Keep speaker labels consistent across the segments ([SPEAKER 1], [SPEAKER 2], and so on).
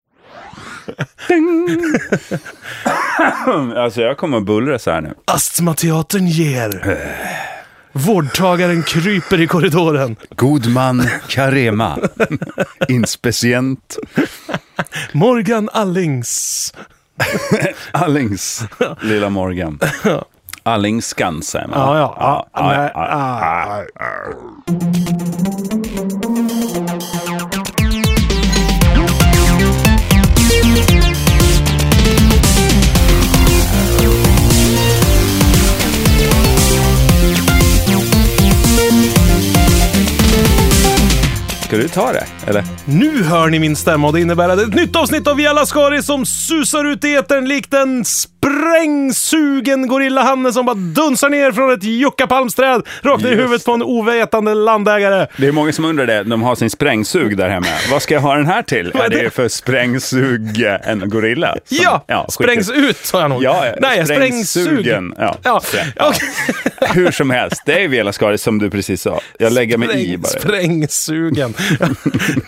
[SPEAKER 1] alltså jag kommer att bullra så här nu.
[SPEAKER 2] Astmateatern ger. Vårdtagaren kryper i korridoren.
[SPEAKER 1] God man Karema. Inspecient
[SPEAKER 2] Morgan Allings.
[SPEAKER 1] Allings. Lilla Morgan. Allingskan säger man.
[SPEAKER 2] Ja, ja. Ah, nej, ah.
[SPEAKER 1] Ska du ta det? Eller?
[SPEAKER 2] Nu hör ni min stämma och det innebär att ett nytt avsnitt av Vialla Skari som susar ut i etern likt en sprängsugen gorillahanne som bara dunsar ner från ett juckapalmsträd rakt ner i
[SPEAKER 1] Just.
[SPEAKER 2] huvudet på en ovetande landägare.
[SPEAKER 1] Det är många som undrar det. De har sin sprängsug där hemma. Vad ska jag ha den här till? Ja, det är för sprängsug eh, en gorilla. Som,
[SPEAKER 2] Ja,
[SPEAKER 1] skit i-
[SPEAKER 2] sprängs ut sa jag nog.
[SPEAKER 1] Ja, eh,
[SPEAKER 2] Nej, sprängsugen.
[SPEAKER 1] sprängsugen. Ja,
[SPEAKER 2] Ja,
[SPEAKER 1] sprä-
[SPEAKER 2] ja.
[SPEAKER 1] Hur som helst, det är Vela Skari som du precis sa. Jag lägger mig i bara.
[SPEAKER 2] Sprängsugen.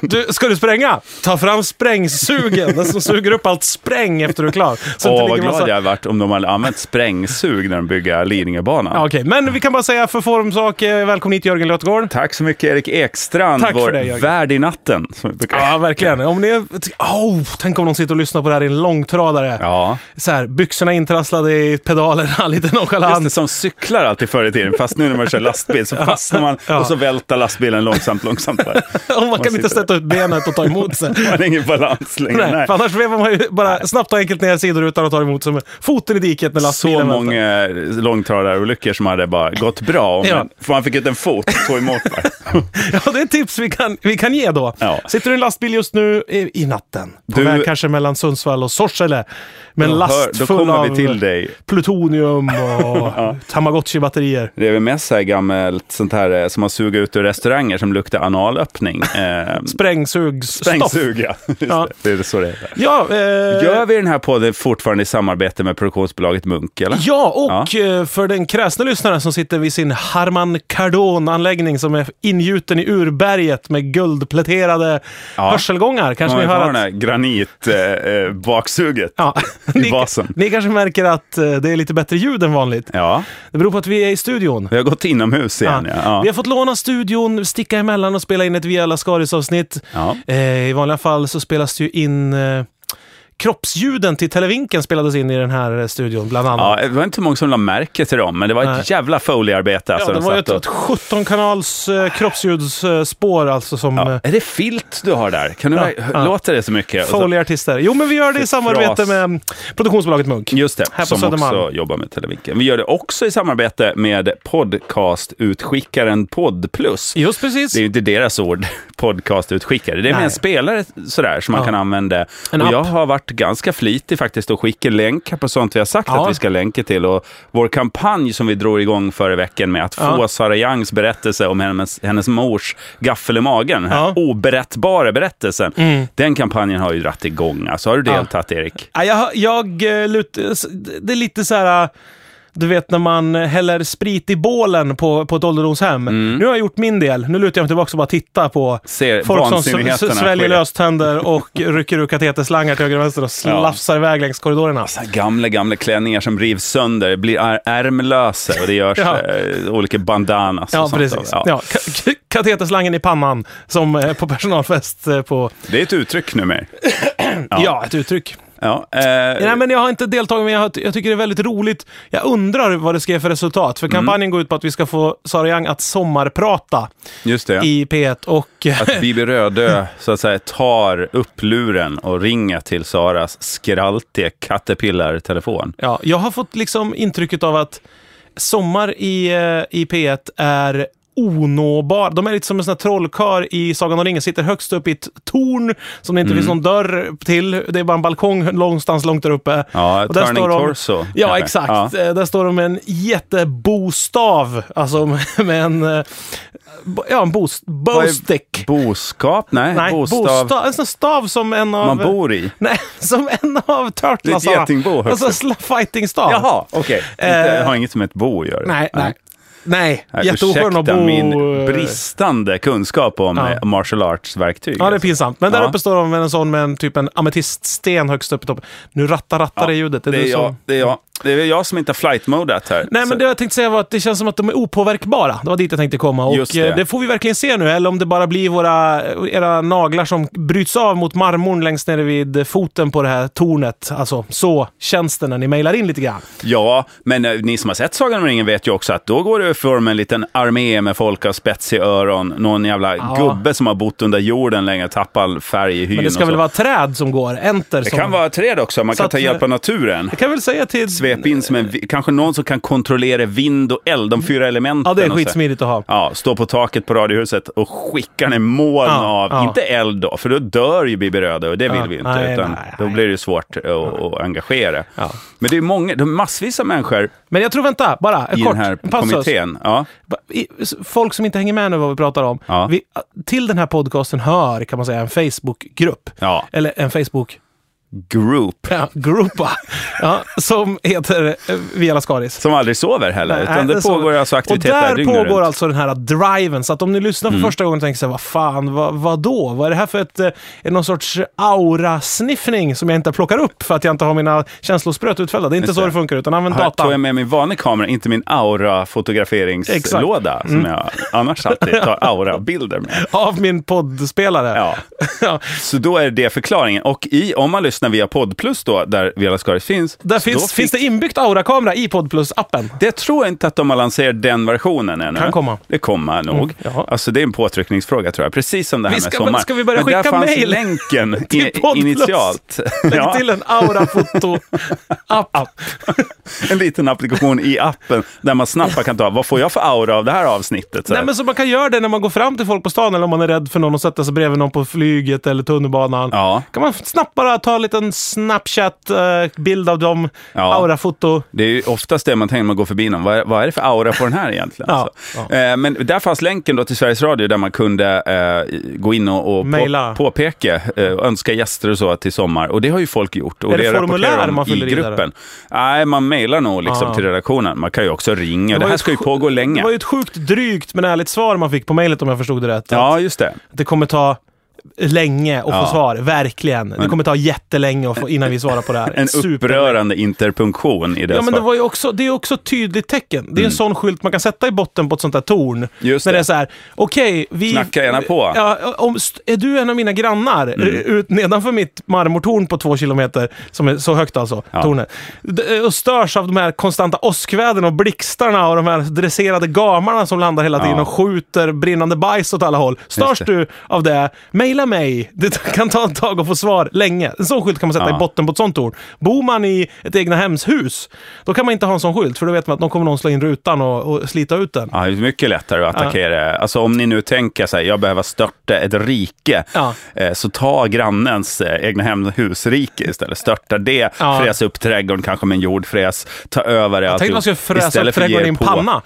[SPEAKER 2] Du, ska du spränga? Ta fram sprängsugen, den som suger upp allt spräng efter du är klar. Så
[SPEAKER 1] Åh,
[SPEAKER 2] inte
[SPEAKER 1] vad
[SPEAKER 2] ligger
[SPEAKER 1] glad
[SPEAKER 2] massa-
[SPEAKER 1] jag har varit om de hade använt sprängsug när de bygger Lidingöbanan.
[SPEAKER 2] Ja, Okej, men vi kan bara säga för formsak, eh, välkommen hit Jörgen Lötgård.
[SPEAKER 1] Tack så mycket Erik Ekstrand,
[SPEAKER 2] Tack för
[SPEAKER 1] vår
[SPEAKER 2] det, Jörgen.
[SPEAKER 1] värd i natten. Som vi brukar-
[SPEAKER 2] Ja, verkligen. Om ni är... oh, tänk om någon sitter och lyssnar på det här i en långtradare.
[SPEAKER 1] Ja.
[SPEAKER 2] Så här, byxorna intrasslade i pedalerna, lite
[SPEAKER 1] Just det,
[SPEAKER 2] nonchalant.
[SPEAKER 1] som cyklar alltid förr i tiden, fast nu när man kör lastbil så fastnar man
[SPEAKER 2] Ja.
[SPEAKER 1] och så välter lastbilen långsamt, långsamt. Där.
[SPEAKER 2] Och man kan
[SPEAKER 1] sitter-
[SPEAKER 2] inte sätta ut benet och ta emot sig.
[SPEAKER 1] Man har ingen balans längre.
[SPEAKER 2] Nej,
[SPEAKER 1] Nej.
[SPEAKER 2] för annars vevar man ju bara snabbt och enkelt ner sidorutan och tar emot som foten i diket när lastbilen
[SPEAKER 1] Så
[SPEAKER 2] väntar.
[SPEAKER 1] många långtradarolyckor som hade bara gått bra, om
[SPEAKER 2] Ja.
[SPEAKER 1] en- för man fick ut en fot och tog emot bara.
[SPEAKER 2] Ja, det är ett tips vi kan, vi kan ge då.
[SPEAKER 1] Ja.
[SPEAKER 2] Sitter du i en lastbil just nu i, i natten, på
[SPEAKER 1] Du-
[SPEAKER 2] väg kanske mellan Sundsvall och Sorsele, med en
[SPEAKER 1] Då
[SPEAKER 2] last
[SPEAKER 1] hör- då
[SPEAKER 2] full
[SPEAKER 1] kommer
[SPEAKER 2] av
[SPEAKER 1] vi till dig.
[SPEAKER 2] plutonium och Tamagotchi-batterier.
[SPEAKER 1] Det är väl mest så här gammalt sånt här eh, som man suger ut ur restauranger som luktar analöppning. Eh,
[SPEAKER 2] Sprängsugsstoff.
[SPEAKER 1] Sprängsuga. Just
[SPEAKER 2] Ja.
[SPEAKER 1] Det. det är så det är.
[SPEAKER 2] Ja, eh,
[SPEAKER 1] Gör vi den här podden fortfarande i samarbete med produktionsbolaget Munk? Eller?
[SPEAKER 2] ja, och eh, för den kräsna lyssnaren som sitter vid sin Harman Kardon-anläggning som är ingjuten i urberget med guldpläterade
[SPEAKER 1] Ja.
[SPEAKER 2] hörselgångar. Kanske
[SPEAKER 1] Om
[SPEAKER 2] ni
[SPEAKER 1] vi
[SPEAKER 2] hör
[SPEAKER 1] har
[SPEAKER 2] att
[SPEAKER 1] det här granitbaksuget. Eh, baksuget.
[SPEAKER 2] Ja,
[SPEAKER 1] I
[SPEAKER 2] ni,
[SPEAKER 1] basen.
[SPEAKER 2] ni kanske märker att eh, det är lite bättre ljud än vanligt.
[SPEAKER 1] ja,
[SPEAKER 2] Det beror på att vi är i studion.
[SPEAKER 1] vi har gått inomhus igen. Ja. Ja.
[SPEAKER 2] Vi har fått låna studion, sticka emellan och spela in ett Via Lascaris-avsnitt.
[SPEAKER 1] Ja.
[SPEAKER 2] Eh, I vanliga fall så spelas det ju in eh, kroppsljuden till Televinken spelades in i den här eh, studion, bland annat.
[SPEAKER 1] Ja, det var inte så många som lade märke till dem, men det var ett
[SPEAKER 2] Nej.
[SPEAKER 1] jävla foliearbete. Alltså,
[SPEAKER 2] Ja, det
[SPEAKER 1] de
[SPEAKER 2] var ju
[SPEAKER 1] satt
[SPEAKER 2] ett, ett 17-kanals eh, kroppsljudspår alltså som
[SPEAKER 1] och...
[SPEAKER 2] ja.
[SPEAKER 1] Är det filt du har där? Kan du...
[SPEAKER 2] ja.
[SPEAKER 1] Låter det så mycket? Och så-
[SPEAKER 2] folieartister. Jo, men vi gör det i samarbete
[SPEAKER 1] Fras.
[SPEAKER 2] med mm, produktionsbolaget Munk.
[SPEAKER 1] Just det,
[SPEAKER 2] Här på
[SPEAKER 1] som
[SPEAKER 2] Södermalm.
[SPEAKER 1] också jobbar med Televinken. Vi gör det också i samarbete med podcastutskickaren Poddplus.
[SPEAKER 2] Just precis.
[SPEAKER 1] Det är ju inte deras ord, podcastutskickare. Det är
[SPEAKER 2] Nej.
[SPEAKER 1] mer en spelare sådär som man
[SPEAKER 2] Ja.
[SPEAKER 1] kan använda.
[SPEAKER 2] En
[SPEAKER 1] och jag
[SPEAKER 2] app.
[SPEAKER 1] har varit ganska flitig faktiskt att skicka länkar på sånt vi har sagt
[SPEAKER 2] Ja.
[SPEAKER 1] att vi ska länka till. Och vår kampanj som vi drog igång förra veckan med att få
[SPEAKER 2] Ja.
[SPEAKER 1] Sara Youngs berättelse om hennes, hennes mors gaffel i magen, den här
[SPEAKER 2] Ja. Mm.
[SPEAKER 1] oberättbara berättelsen. Den kampanjen har ju dratt igång. Alltså, har du deltagit, Erik?
[SPEAKER 2] Ja, jag, jag eh, lut, s- det är lite så här... eh, Du vet när man häller sprit i bålen på, på ett ålderdomshem. Nu har jag gjort min del. Nu lutar jag mig tillbaka och bara tittar på
[SPEAKER 1] Ser
[SPEAKER 2] folk som s-
[SPEAKER 1] vansinnigheterna
[SPEAKER 2] s- sväljer
[SPEAKER 1] ske.
[SPEAKER 2] löständer och rycker ur kateterslangar till höger och vänster och slafsar iväg längs korridorerna.
[SPEAKER 1] Så här gamla, gamla klänningar som rivs sönder, blir är- ärmlösa och det görs
[SPEAKER 2] Ja.
[SPEAKER 1] eh, olika bandanas. och
[SPEAKER 2] Ja,
[SPEAKER 1] sånt
[SPEAKER 2] precis.
[SPEAKER 1] av.
[SPEAKER 2] Ja. ka- ka- kateterslangen i pannan som eh, på personalfest eh, på...
[SPEAKER 1] Det är ett uttryck numera.
[SPEAKER 2] Ja, ett uttryck.
[SPEAKER 1] Ja, eh,
[SPEAKER 2] Nej, men jag har inte deltagit, men jag, har, jag tycker det är väldigt roligt. Jag undrar vad det ska ge för resultat, för kampanjen går ut på att vi ska få Sara Young att sommarprata
[SPEAKER 1] just det.
[SPEAKER 2] i P1 och...
[SPEAKER 1] Att Bibi Rödö så att säga tar upp luren och ringer till Saras skraltiga Caterpillar-telefon.
[SPEAKER 2] Ja, jag har fått liksom intrycket av att sommar i, eh, i P1 är onåbar. De är lite som en sån här trollkar i Sagan om ringen. Sitter högst upp i ett torn som det inte
[SPEAKER 1] Mm.
[SPEAKER 2] finns någon dörr till. Det är bara en balkong någonstans långt där uppe.
[SPEAKER 1] Ja,
[SPEAKER 2] Och där
[SPEAKER 1] Turning
[SPEAKER 2] står de-
[SPEAKER 1] Torso.
[SPEAKER 2] Ja,
[SPEAKER 1] kanske.
[SPEAKER 2] exakt.
[SPEAKER 1] Ja.
[SPEAKER 2] Eh, Där står de med en jättebostav. Alltså med en... eh, bo- Ja, en bost,
[SPEAKER 1] Vad är
[SPEAKER 2] bostick.
[SPEAKER 1] Boskap? Nej,
[SPEAKER 2] Nej,
[SPEAKER 1] bostav.
[SPEAKER 2] bostav. En sån stav som en av...
[SPEAKER 1] Man bor i.
[SPEAKER 2] Nej, som en av Turtles.
[SPEAKER 1] Det är ett getingbo högst
[SPEAKER 2] Alltså, fighting-stav.
[SPEAKER 1] Jaha, okej.
[SPEAKER 2] Eh,
[SPEAKER 1] Det har inget med ett bo att göra.
[SPEAKER 2] Nej, nej. Nej,
[SPEAKER 1] Nej,
[SPEAKER 2] jätteoskön
[SPEAKER 1] ursäkta
[SPEAKER 2] att bo... eh,
[SPEAKER 1] min bristande kunskap om
[SPEAKER 2] Ja.
[SPEAKER 1] eh, martial arts-verktyg.
[SPEAKER 2] Ja, det är
[SPEAKER 1] alltså.
[SPEAKER 2] pinsamt. Men där
[SPEAKER 1] Ja.
[SPEAKER 2] uppe står de med en sån med en typ en ametiststen högst upp i toppen. Nu rattar rattar det ljudet.
[SPEAKER 1] det,
[SPEAKER 2] du
[SPEAKER 1] är
[SPEAKER 2] som-
[SPEAKER 1] jag, det är jag. Det är väl jag som inte har flight-modat här.
[SPEAKER 2] Nej, men det jag tänkte säga var att det känns som att de är opåverkbara. Det var dit jag tänkte komma. Och
[SPEAKER 1] Just
[SPEAKER 2] det.
[SPEAKER 1] det.
[SPEAKER 2] det får vi verkligen se nu, eller om det bara blir våra, era naglar som bryts av mot marmorn längst nere vid foten på det här tornet. Alltså, så känns det när ni mejlar in lite grann.
[SPEAKER 1] Ja, men eh, ni som har sett Sagan om ringen vet ju också att då går det för med en liten armé med folk av spetsiga öron. Någon jävla
[SPEAKER 2] Ja.
[SPEAKER 1] gubbe som har bott under jorden länge, tappar all färg i hyn
[SPEAKER 2] Men det ska
[SPEAKER 1] och
[SPEAKER 2] väl
[SPEAKER 1] så.
[SPEAKER 2] vara träd som går? Enter.
[SPEAKER 1] Det
[SPEAKER 2] som...
[SPEAKER 1] kan vara träd också, man
[SPEAKER 2] Så
[SPEAKER 1] kan
[SPEAKER 2] att, eh,
[SPEAKER 1] ta hjälp av naturen.
[SPEAKER 2] Jag kan väl säga till...
[SPEAKER 1] Svep in som en, vi- kanske någon som kan kontrollera vind och eld, de fyra elementen.
[SPEAKER 2] Ja, det är
[SPEAKER 1] och så.
[SPEAKER 2] skitsmidigt att ha.
[SPEAKER 1] Ja, stå på taket på Radiohuset och skicka ner moln
[SPEAKER 2] Ja,
[SPEAKER 1] av,
[SPEAKER 2] ja.
[SPEAKER 1] inte eld då, för då dör ju Bibi Röda och det vill
[SPEAKER 2] Ja,
[SPEAKER 1] vi inte.
[SPEAKER 2] nej,
[SPEAKER 1] utan
[SPEAKER 2] nej,
[SPEAKER 1] då
[SPEAKER 2] nej.
[SPEAKER 1] blir det svårt att, att engagera.
[SPEAKER 2] Ja.
[SPEAKER 1] Men det är många, det är massvis av människor
[SPEAKER 2] Men jag tror, vänta, bara
[SPEAKER 1] i
[SPEAKER 2] kort.
[SPEAKER 1] den här
[SPEAKER 2] en passus.
[SPEAKER 1] kommittén. Ja.
[SPEAKER 2] Va- i- s- Folk som inte hänger med nu vad vi pratar om.
[SPEAKER 1] Ja.
[SPEAKER 2] Vi, till den här podcasten hör, kan man säga, en Facebookgrupp.
[SPEAKER 1] Ja.
[SPEAKER 2] Eller en Facebook...
[SPEAKER 1] Group,
[SPEAKER 2] Ja, Groupa. Ja, som heter eh, Via Lascaris.
[SPEAKER 1] som aldrig sover heller.
[SPEAKER 2] Nej,
[SPEAKER 1] utan det,
[SPEAKER 2] är så.
[SPEAKER 1] pågår alltså aktiviteter
[SPEAKER 2] Och där
[SPEAKER 1] dygnet
[SPEAKER 2] pågår
[SPEAKER 1] runt. Mm.
[SPEAKER 2] alltså den här driven. Så att om ni lyssnar för första gången och tänker så här, vad fan, vad, vad då? Vad är det här för ett, eh, är det någon sorts aura-sniffning som jag inte plockar upp för att jag inte har mina känslospröt utfällda? Det är inte
[SPEAKER 1] Just
[SPEAKER 2] så
[SPEAKER 1] det.
[SPEAKER 2] det funkar, utan använd
[SPEAKER 1] Här
[SPEAKER 2] data.
[SPEAKER 1] tog jag med min vanliga kamera, inte min aura-fotograferingslåda som
[SPEAKER 2] Mm.
[SPEAKER 1] jag annars alltid tar aura-bilder med.
[SPEAKER 2] Av min poddspelare.
[SPEAKER 1] Ja.
[SPEAKER 2] Ja.
[SPEAKER 1] Så då är det förklaringen. Och i, om man lyssnar via Podd Plus då, där Vela Skaris finns.
[SPEAKER 2] Där
[SPEAKER 1] så då
[SPEAKER 2] finns, finns det inbyggt aura-kamera i Podplus-appen.
[SPEAKER 1] Det tror jag inte att de har lanserat den versionen ännu.
[SPEAKER 2] Kan komma.
[SPEAKER 1] Det kommer nog.
[SPEAKER 2] Mm, jaha.
[SPEAKER 1] alltså det är en påtryckningsfråga tror jag, precis som det här
[SPEAKER 2] Vi
[SPEAKER 1] med
[SPEAKER 2] ska-
[SPEAKER 1] sommar.
[SPEAKER 2] ska vi börja
[SPEAKER 1] Men där
[SPEAKER 2] skicka
[SPEAKER 1] fanns
[SPEAKER 2] mejl
[SPEAKER 1] länken
[SPEAKER 2] till
[SPEAKER 1] i-
[SPEAKER 2] Poddplus?
[SPEAKER 1] initialt.
[SPEAKER 2] Lägg
[SPEAKER 1] Ja,
[SPEAKER 2] till en aura-foto-app.
[SPEAKER 1] en liten applikation i appen där man snabbt kan ta, vad får jag för aura av det här avsnittet? Så här.
[SPEAKER 2] Nej, men så man kan göra det när man går fram till folk på stan eller om man är rädd för någon och sätta sig bredvid någon på flyget eller tunnelbanan.
[SPEAKER 1] Ja.
[SPEAKER 2] kan man snabbt bara ta en liten Snapchat-bild av dem,
[SPEAKER 1] Ja.
[SPEAKER 2] aurafoto.
[SPEAKER 1] Det är ju oftast det man tänker när man går förbi någon. Vad är, vad är det för aura på den här egentligen?
[SPEAKER 2] Ja,
[SPEAKER 1] alltså? Eh, men där fanns länken då till Sveriges Radio där man kunde eh, gå in och, och
[SPEAKER 2] Maila.
[SPEAKER 1] på, påpeka, eh, och önska gäster och så till sommar. Och det har ju folk gjort. Och
[SPEAKER 2] Är det
[SPEAKER 1] rapporterar
[SPEAKER 2] formulär
[SPEAKER 1] de
[SPEAKER 2] man fyller
[SPEAKER 1] i
[SPEAKER 2] i där?
[SPEAKER 1] gruppen. Nej, man mejlar nog liksom
[SPEAKER 2] Ah.
[SPEAKER 1] till redaktionen. Man kan ju också ringa. Det,
[SPEAKER 2] Det var ju
[SPEAKER 1] här ska ju
[SPEAKER 2] sj-
[SPEAKER 1] pågå
[SPEAKER 2] Det
[SPEAKER 1] länge.
[SPEAKER 2] var ju ett sjukt drygt men ärligt svar man fick på mejlet om jag förstod det rätt.
[SPEAKER 1] Ja, just det.
[SPEAKER 2] Att Det kommer ta länge att
[SPEAKER 1] Ja.
[SPEAKER 2] få svar, verkligen. Det kommer ta jättelänge att få, innan vi svarar på det här.
[SPEAKER 1] En
[SPEAKER 2] Super-
[SPEAKER 1] upprörande interpunktion i det
[SPEAKER 2] Ja, men det,
[SPEAKER 1] svaret.
[SPEAKER 2] var ju också, det är också ett tydligt tecken. Det är en sån skylt man kan sätta i botten på ett sånt där torn.
[SPEAKER 1] Just
[SPEAKER 2] när det
[SPEAKER 1] det.
[SPEAKER 2] är så här, okej, vi...
[SPEAKER 1] Knacka gärna på. Mm.
[SPEAKER 2] Ja, om, st- är du en av mina grannar, r- ut, nedanför mitt marmortorn på två kilometer, som är så högt alltså,
[SPEAKER 1] Ja.
[SPEAKER 2] tornet, d- och störs av de här konstanta åskväderna och blixtarna och de här dresserade gamarna som landar hela tiden
[SPEAKER 1] Ja.
[SPEAKER 2] och skjuter brinnande bajs åt alla håll. Störs
[SPEAKER 1] Just det.
[SPEAKER 2] du av det, mejla mig. Det kan ta ett tag att få svar länge. En sån skylt kan man sätta
[SPEAKER 1] Ja.
[SPEAKER 2] i botten på ett sånt torn. Bor man i ett egna hemshus, då kan man inte ha en sån skylt, för då vet man att någon kommer någon slå in rutan och, och slita ut den.
[SPEAKER 1] Ja, det är mycket lättare att attackera. Alltså om ni nu tänker så här, jag behöver störta ett rike,
[SPEAKER 2] Ja.
[SPEAKER 1] eh, så ta grannens eh, egna husrike istället. Störta det,
[SPEAKER 2] Ja.
[SPEAKER 1] fräs upp trädgården kanske med en jordfräs, ta över det.
[SPEAKER 2] Jag tänkte man skulle fräsa upp
[SPEAKER 1] istället för
[SPEAKER 2] trädgården
[SPEAKER 1] ge
[SPEAKER 2] i en
[SPEAKER 1] er på.
[SPEAKER 2] panna.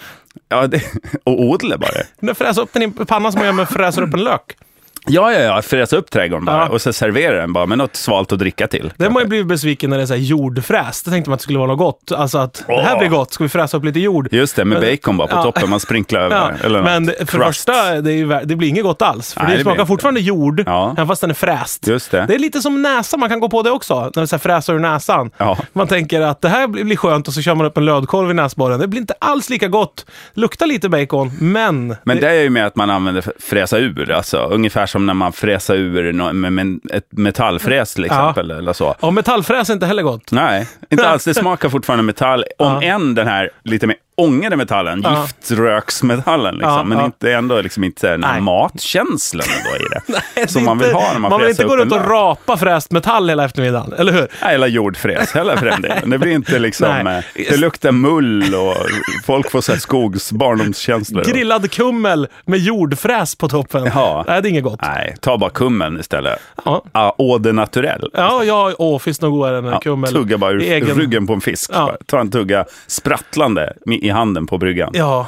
[SPEAKER 1] Ja, det, och odla bara.
[SPEAKER 2] Men Fräsa upp den i en panna som man gör med fräser upp en lök.
[SPEAKER 1] Ja, ja, ja, fräsa upp trädgården bara
[SPEAKER 2] Ja.
[SPEAKER 1] och sen servera den bara med något svalt att dricka till.
[SPEAKER 2] Det har man ju blivit besviken när det är så här jordfräs. Det tänkte man att det skulle vara något gott. Alltså att det här
[SPEAKER 1] Åh.
[SPEAKER 2] blir gott, ska vi fräsa upp lite jord?
[SPEAKER 1] Just det, med
[SPEAKER 2] Men-
[SPEAKER 1] bacon bara på
[SPEAKER 2] Ja.
[SPEAKER 1] toppen, man sprinklar
[SPEAKER 2] Ja,
[SPEAKER 1] över. eller något.
[SPEAKER 2] men det- för det
[SPEAKER 1] Crust.
[SPEAKER 2] första, det, är ju, vär- det blir inget gott alls. För
[SPEAKER 1] Nej,
[SPEAKER 2] det
[SPEAKER 1] det
[SPEAKER 2] smakar
[SPEAKER 1] blir inte.
[SPEAKER 2] fortfarande jord,
[SPEAKER 1] Ja.
[SPEAKER 2] även fast den är fräst.
[SPEAKER 1] Just det.
[SPEAKER 2] Det är lite som näsan, man kan gå på det också. När man så här fräsar ur näsan.
[SPEAKER 1] Ja.
[SPEAKER 2] Man tänker att det här blir blir skönt och så kör man upp en lödkolv i näsborren. Det blir inte alls lika gott. Luktar lite bacon, men...
[SPEAKER 1] Men det är ju med att man använder f- fräsa ur, alltså ungefär som när man fräsar ur nå- med, med ett metallfräs till exempel eller så.
[SPEAKER 2] Ja, metallfräs är inte heller gott.
[SPEAKER 1] Nej, inte alls. Det smakar fortfarande metall, om
[SPEAKER 2] Ja.
[SPEAKER 1] än den här lite mer ångade metallen,
[SPEAKER 2] Ja.
[SPEAKER 1] giftröksmetallen, liksom.
[SPEAKER 2] Ja,
[SPEAKER 1] men
[SPEAKER 2] ja.
[SPEAKER 1] Inte, ändå liksom inte den
[SPEAKER 2] Nej.
[SPEAKER 1] här matkänslan ändå i det.
[SPEAKER 2] Det är
[SPEAKER 1] som man vill
[SPEAKER 2] inte-
[SPEAKER 1] ha när man,
[SPEAKER 2] Man vill
[SPEAKER 1] fräsar
[SPEAKER 2] inte gå
[SPEAKER 1] upp
[SPEAKER 2] runt
[SPEAKER 1] en
[SPEAKER 2] och
[SPEAKER 1] lök.
[SPEAKER 2] rapa fräst metall hela eftermiddagen, eller hur?
[SPEAKER 1] Nej, eller jordfräs heller för den delen. Det blir inte liksom,
[SPEAKER 2] Nej.
[SPEAKER 1] eh, det luktar mull och folk får så här skogs barndomskänslor.
[SPEAKER 2] Grillad kummel med jordfräs på toppen.
[SPEAKER 1] Ja.
[SPEAKER 2] Nej, det är inget gott.
[SPEAKER 1] Nej, ta bara kummen istället.
[SPEAKER 2] Ja.
[SPEAKER 1] Ah, Eau de naturel.
[SPEAKER 2] Ja, ja, åh, finns det något godare än en
[SPEAKER 1] Ja,
[SPEAKER 2] kummel?
[SPEAKER 1] Tugga bara ur
[SPEAKER 2] I egen-
[SPEAKER 1] ryggen på en fisk.
[SPEAKER 2] Ja.
[SPEAKER 1] Bara. Ta en tugga sprattlande i i handen på bryggan.
[SPEAKER 2] Ja.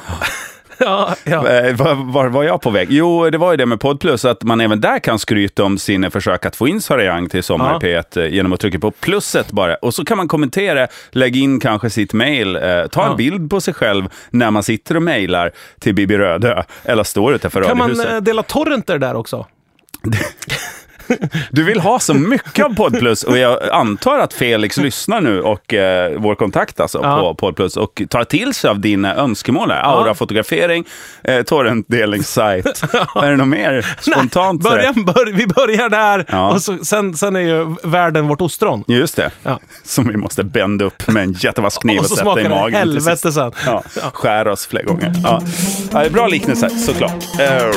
[SPEAKER 2] ja, ja.
[SPEAKER 1] Eh, var, var var jag på väg? Jo, det var ju det med Podplus, att man även där kan skryta om sina försök att få in Sara Young till Sommar i P1 eh, genom att trycka på plusset bara. Och så kan man kommentera, lägga in kanske sitt mejl, eh, ta
[SPEAKER 2] Ja.
[SPEAKER 1] en bild på sig själv när man sitter och mejlar till Bibi Rödö eller står utanför
[SPEAKER 2] Kan man
[SPEAKER 1] radiohuset.
[SPEAKER 2] eh, dela torrenter där också?
[SPEAKER 1] Du vill ha så mycket av Podplus och jag antar att Felix lyssnar nu och eh, vår kontakt alltså
[SPEAKER 2] Ja.
[SPEAKER 1] på Podplus och tar till sig av dina önskemål. Här. Aurafotografering, eh, torrentdelningssajt. Är det något mer spontant?
[SPEAKER 2] Nej,
[SPEAKER 1] sådär?
[SPEAKER 2] början, bör, vi börjar där
[SPEAKER 1] Ja.
[SPEAKER 2] och så, sen, sen är ju världen vårt ostron.
[SPEAKER 1] Just det,
[SPEAKER 2] Ja.
[SPEAKER 1] som vi måste bända upp med en jättevass kniv och,
[SPEAKER 2] Och så
[SPEAKER 1] sätta i
[SPEAKER 2] smakar det
[SPEAKER 1] magen. till sist.
[SPEAKER 2] helvete sen.
[SPEAKER 1] Ja, skära oss fler gånger. Ja. Ja, det är bra liknelse, såklart. Eh,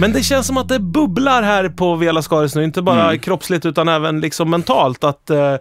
[SPEAKER 2] Men det känns som att det bubblar här på Vela Skaris nu. Inte bara
[SPEAKER 1] Mm.
[SPEAKER 2] kroppsligt utan även liksom mentalt. Att, eh,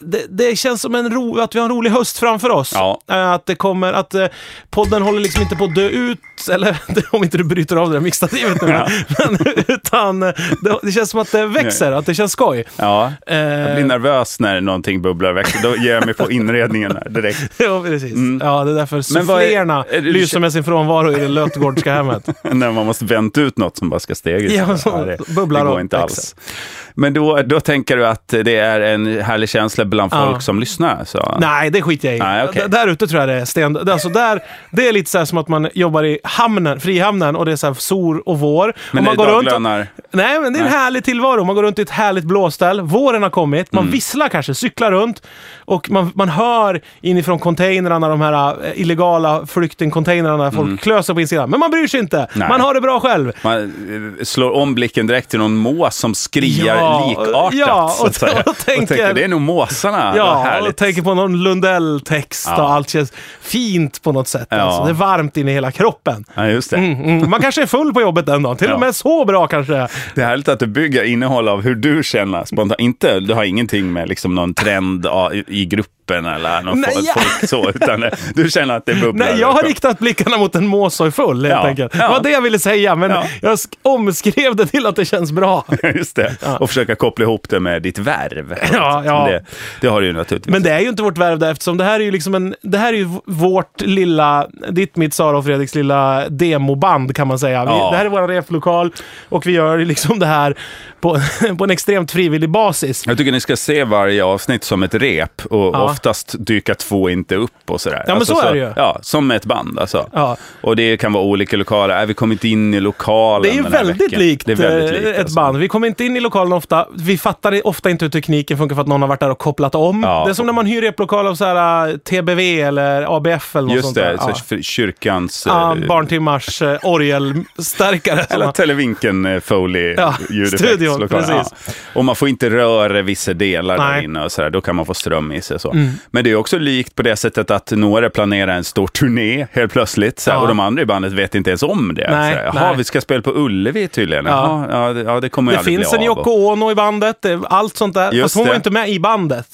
[SPEAKER 2] det, det känns som en ro, att vi har en rolig höst framför oss.
[SPEAKER 1] Ja.
[SPEAKER 2] Eh, att det kommer, att eh, podden håller liksom inte på att dö ut. Eller om inte du bryter av det där mixtativet nu. Men, utan eh, det, det känns som att det växer, att det känns skoj.
[SPEAKER 1] ja. Jag blir
[SPEAKER 2] Eh,
[SPEAKER 1] nervös när någonting bubblar väck. Då ger jag mig på inredningen här direkt.
[SPEAKER 2] ja, precis. Ja, det är därför
[SPEAKER 1] Mm. Men vad är-
[SPEAKER 2] sufflerna
[SPEAKER 1] är det-
[SPEAKER 2] lyser med sin frånvaro i det lötgårdska hemmet.
[SPEAKER 1] när man måste vänta ut något som bara ska stegas.
[SPEAKER 2] Ja, så
[SPEAKER 1] det,
[SPEAKER 2] bubblar
[SPEAKER 1] det går
[SPEAKER 2] upp,
[SPEAKER 1] inte alls.
[SPEAKER 2] exakt.
[SPEAKER 1] Men då, då tänker du att det är en härlig känsla bland
[SPEAKER 2] Ja.
[SPEAKER 1] folk som lyssnar? Så.
[SPEAKER 2] Nej, det skiter jag i.
[SPEAKER 1] Nej, okej.
[SPEAKER 2] D- Där ute tror jag det är sten... Alltså där, det är lite så här som att man jobbar i hamnen, frihamnen och det är så här sol och vår.
[SPEAKER 1] Men
[SPEAKER 2] och man
[SPEAKER 1] det är daglönar.
[SPEAKER 2] Nej, men det är en
[SPEAKER 1] Nej.
[SPEAKER 2] härlig tillvaro. Man går runt i ett härligt blåställ. Våren har kommit.
[SPEAKER 1] Mm.
[SPEAKER 2] Man visslar kanske, cyklar runt. Och man, man hör inifrån containrarna, de här eh, illegala flyktingcontainrarna, folk klöser på insidan. Men man bryr sig inte.
[SPEAKER 1] Mm. Nej.
[SPEAKER 2] Man har det bra själv.
[SPEAKER 1] Man eh, slår om blicken direkt till någon mås som skriar
[SPEAKER 2] Ja,
[SPEAKER 1] likartat.
[SPEAKER 2] ja,
[SPEAKER 1] så
[SPEAKER 2] och-
[SPEAKER 1] att säga.
[SPEAKER 2] och tänker-
[SPEAKER 1] det är nog måsarna. Vad
[SPEAKER 2] Ja,
[SPEAKER 1] härligt.
[SPEAKER 2] och tänker på någon Lundell-text
[SPEAKER 1] Ja.
[SPEAKER 2] och allt känns fint på något sätt. Alltså,
[SPEAKER 1] Ja.
[SPEAKER 2] det är varmt in i hela kroppen.
[SPEAKER 1] ja, just det.
[SPEAKER 2] Mm, man kanske är full på jobbet den dagen. Till och
[SPEAKER 1] Ja.
[SPEAKER 2] med så bra kanske.
[SPEAKER 1] Det är härligt att du bygger innehåll av hur du känner spontant. Inte, du har ingenting med liksom någon trend ja, i- i gruppen eller någon
[SPEAKER 2] Nej,
[SPEAKER 1] folk,
[SPEAKER 2] ja.
[SPEAKER 1] folk så, utan eh, du känner att det bubblar.
[SPEAKER 2] Nej, jag har
[SPEAKER 1] liksom.
[SPEAKER 2] riktat blickarna mot en mås som är full helt
[SPEAKER 1] Ja,
[SPEAKER 2] enkelt. Det
[SPEAKER 1] ja.
[SPEAKER 2] var det jag ville säga, men
[SPEAKER 1] Ja.
[SPEAKER 2] jag sk- omskrev det till att det känns bra.
[SPEAKER 1] Just det. Och försöka koppla ihop det med ditt värv.
[SPEAKER 2] Ja, ja.
[SPEAKER 1] Det, det har du ju naturligtvis.
[SPEAKER 2] Men det är ju inte vårt värv där, eftersom det här är ju liksom en, det här är ju v- vårt lilla, ditt, mitt, Sara och Fredriks lilla demoband kan man säga. Vi,
[SPEAKER 1] Ja.
[SPEAKER 2] Det här är vår replokal och vi gör ju liksom det här på, på en extremt frivillig basis.
[SPEAKER 1] Jag tycker ni ska se varje avsnitt som ett rep och
[SPEAKER 2] Ja.
[SPEAKER 1] oftast dyka två inte upp och sådär. Alltså
[SPEAKER 2] men så är det ju.
[SPEAKER 1] Ja, som med ett band alltså.
[SPEAKER 2] Ja.
[SPEAKER 1] Och det kan vara olika lokaler. Nej, vi kom inte in i lokalen
[SPEAKER 2] Det är ju
[SPEAKER 1] den här
[SPEAKER 2] väldigt
[SPEAKER 1] veckan.
[SPEAKER 2] likt,
[SPEAKER 1] Det är väldigt likt
[SPEAKER 2] eh, ett
[SPEAKER 1] alltså.
[SPEAKER 2] band. Vi kommer inte in i lokalen ofta. Vi fattar i- ofta inte hur tekniken funkar för att någon har varit där och kopplat om.
[SPEAKER 1] Ja.
[SPEAKER 2] Det är som när man hyr replokal av så här, eh, TBV eller ABF eller något
[SPEAKER 1] Just
[SPEAKER 2] sånt
[SPEAKER 1] det,
[SPEAKER 2] där.
[SPEAKER 1] så
[SPEAKER 2] Ja.
[SPEAKER 1] för kyrkans...
[SPEAKER 2] Ja,
[SPEAKER 1] eh,
[SPEAKER 2] barntimmars eh, orgelstärkare.
[SPEAKER 1] Eller Televinken eh, Foley
[SPEAKER 2] Ja, studion,
[SPEAKER 1] ljudeffektslokal.
[SPEAKER 2] precis.
[SPEAKER 1] Och man får inte röra vissa delar
[SPEAKER 2] Nej. Mm.
[SPEAKER 1] där inne och sådär. Då kan man få ström i sig och så. Men det är också likt på det sättet att några planerar en stor turné helt plötsligt. Såhär,
[SPEAKER 2] Ja.
[SPEAKER 1] Och de andra i bandet vet inte ens om det.
[SPEAKER 2] Nej,
[SPEAKER 1] Såhär, Jaha,
[SPEAKER 2] nej.
[SPEAKER 1] vi ska spela på Ullevi tydligen. Jaha, ja, det, ja, det kommer ju
[SPEAKER 2] Det
[SPEAKER 1] aldrig
[SPEAKER 2] finns
[SPEAKER 1] bli
[SPEAKER 2] en
[SPEAKER 1] av.
[SPEAKER 2] Yoko Ono i bandet, det- allt sånt där.
[SPEAKER 1] Just
[SPEAKER 2] Fast hon
[SPEAKER 1] det.
[SPEAKER 2] var ju inte med i bandet.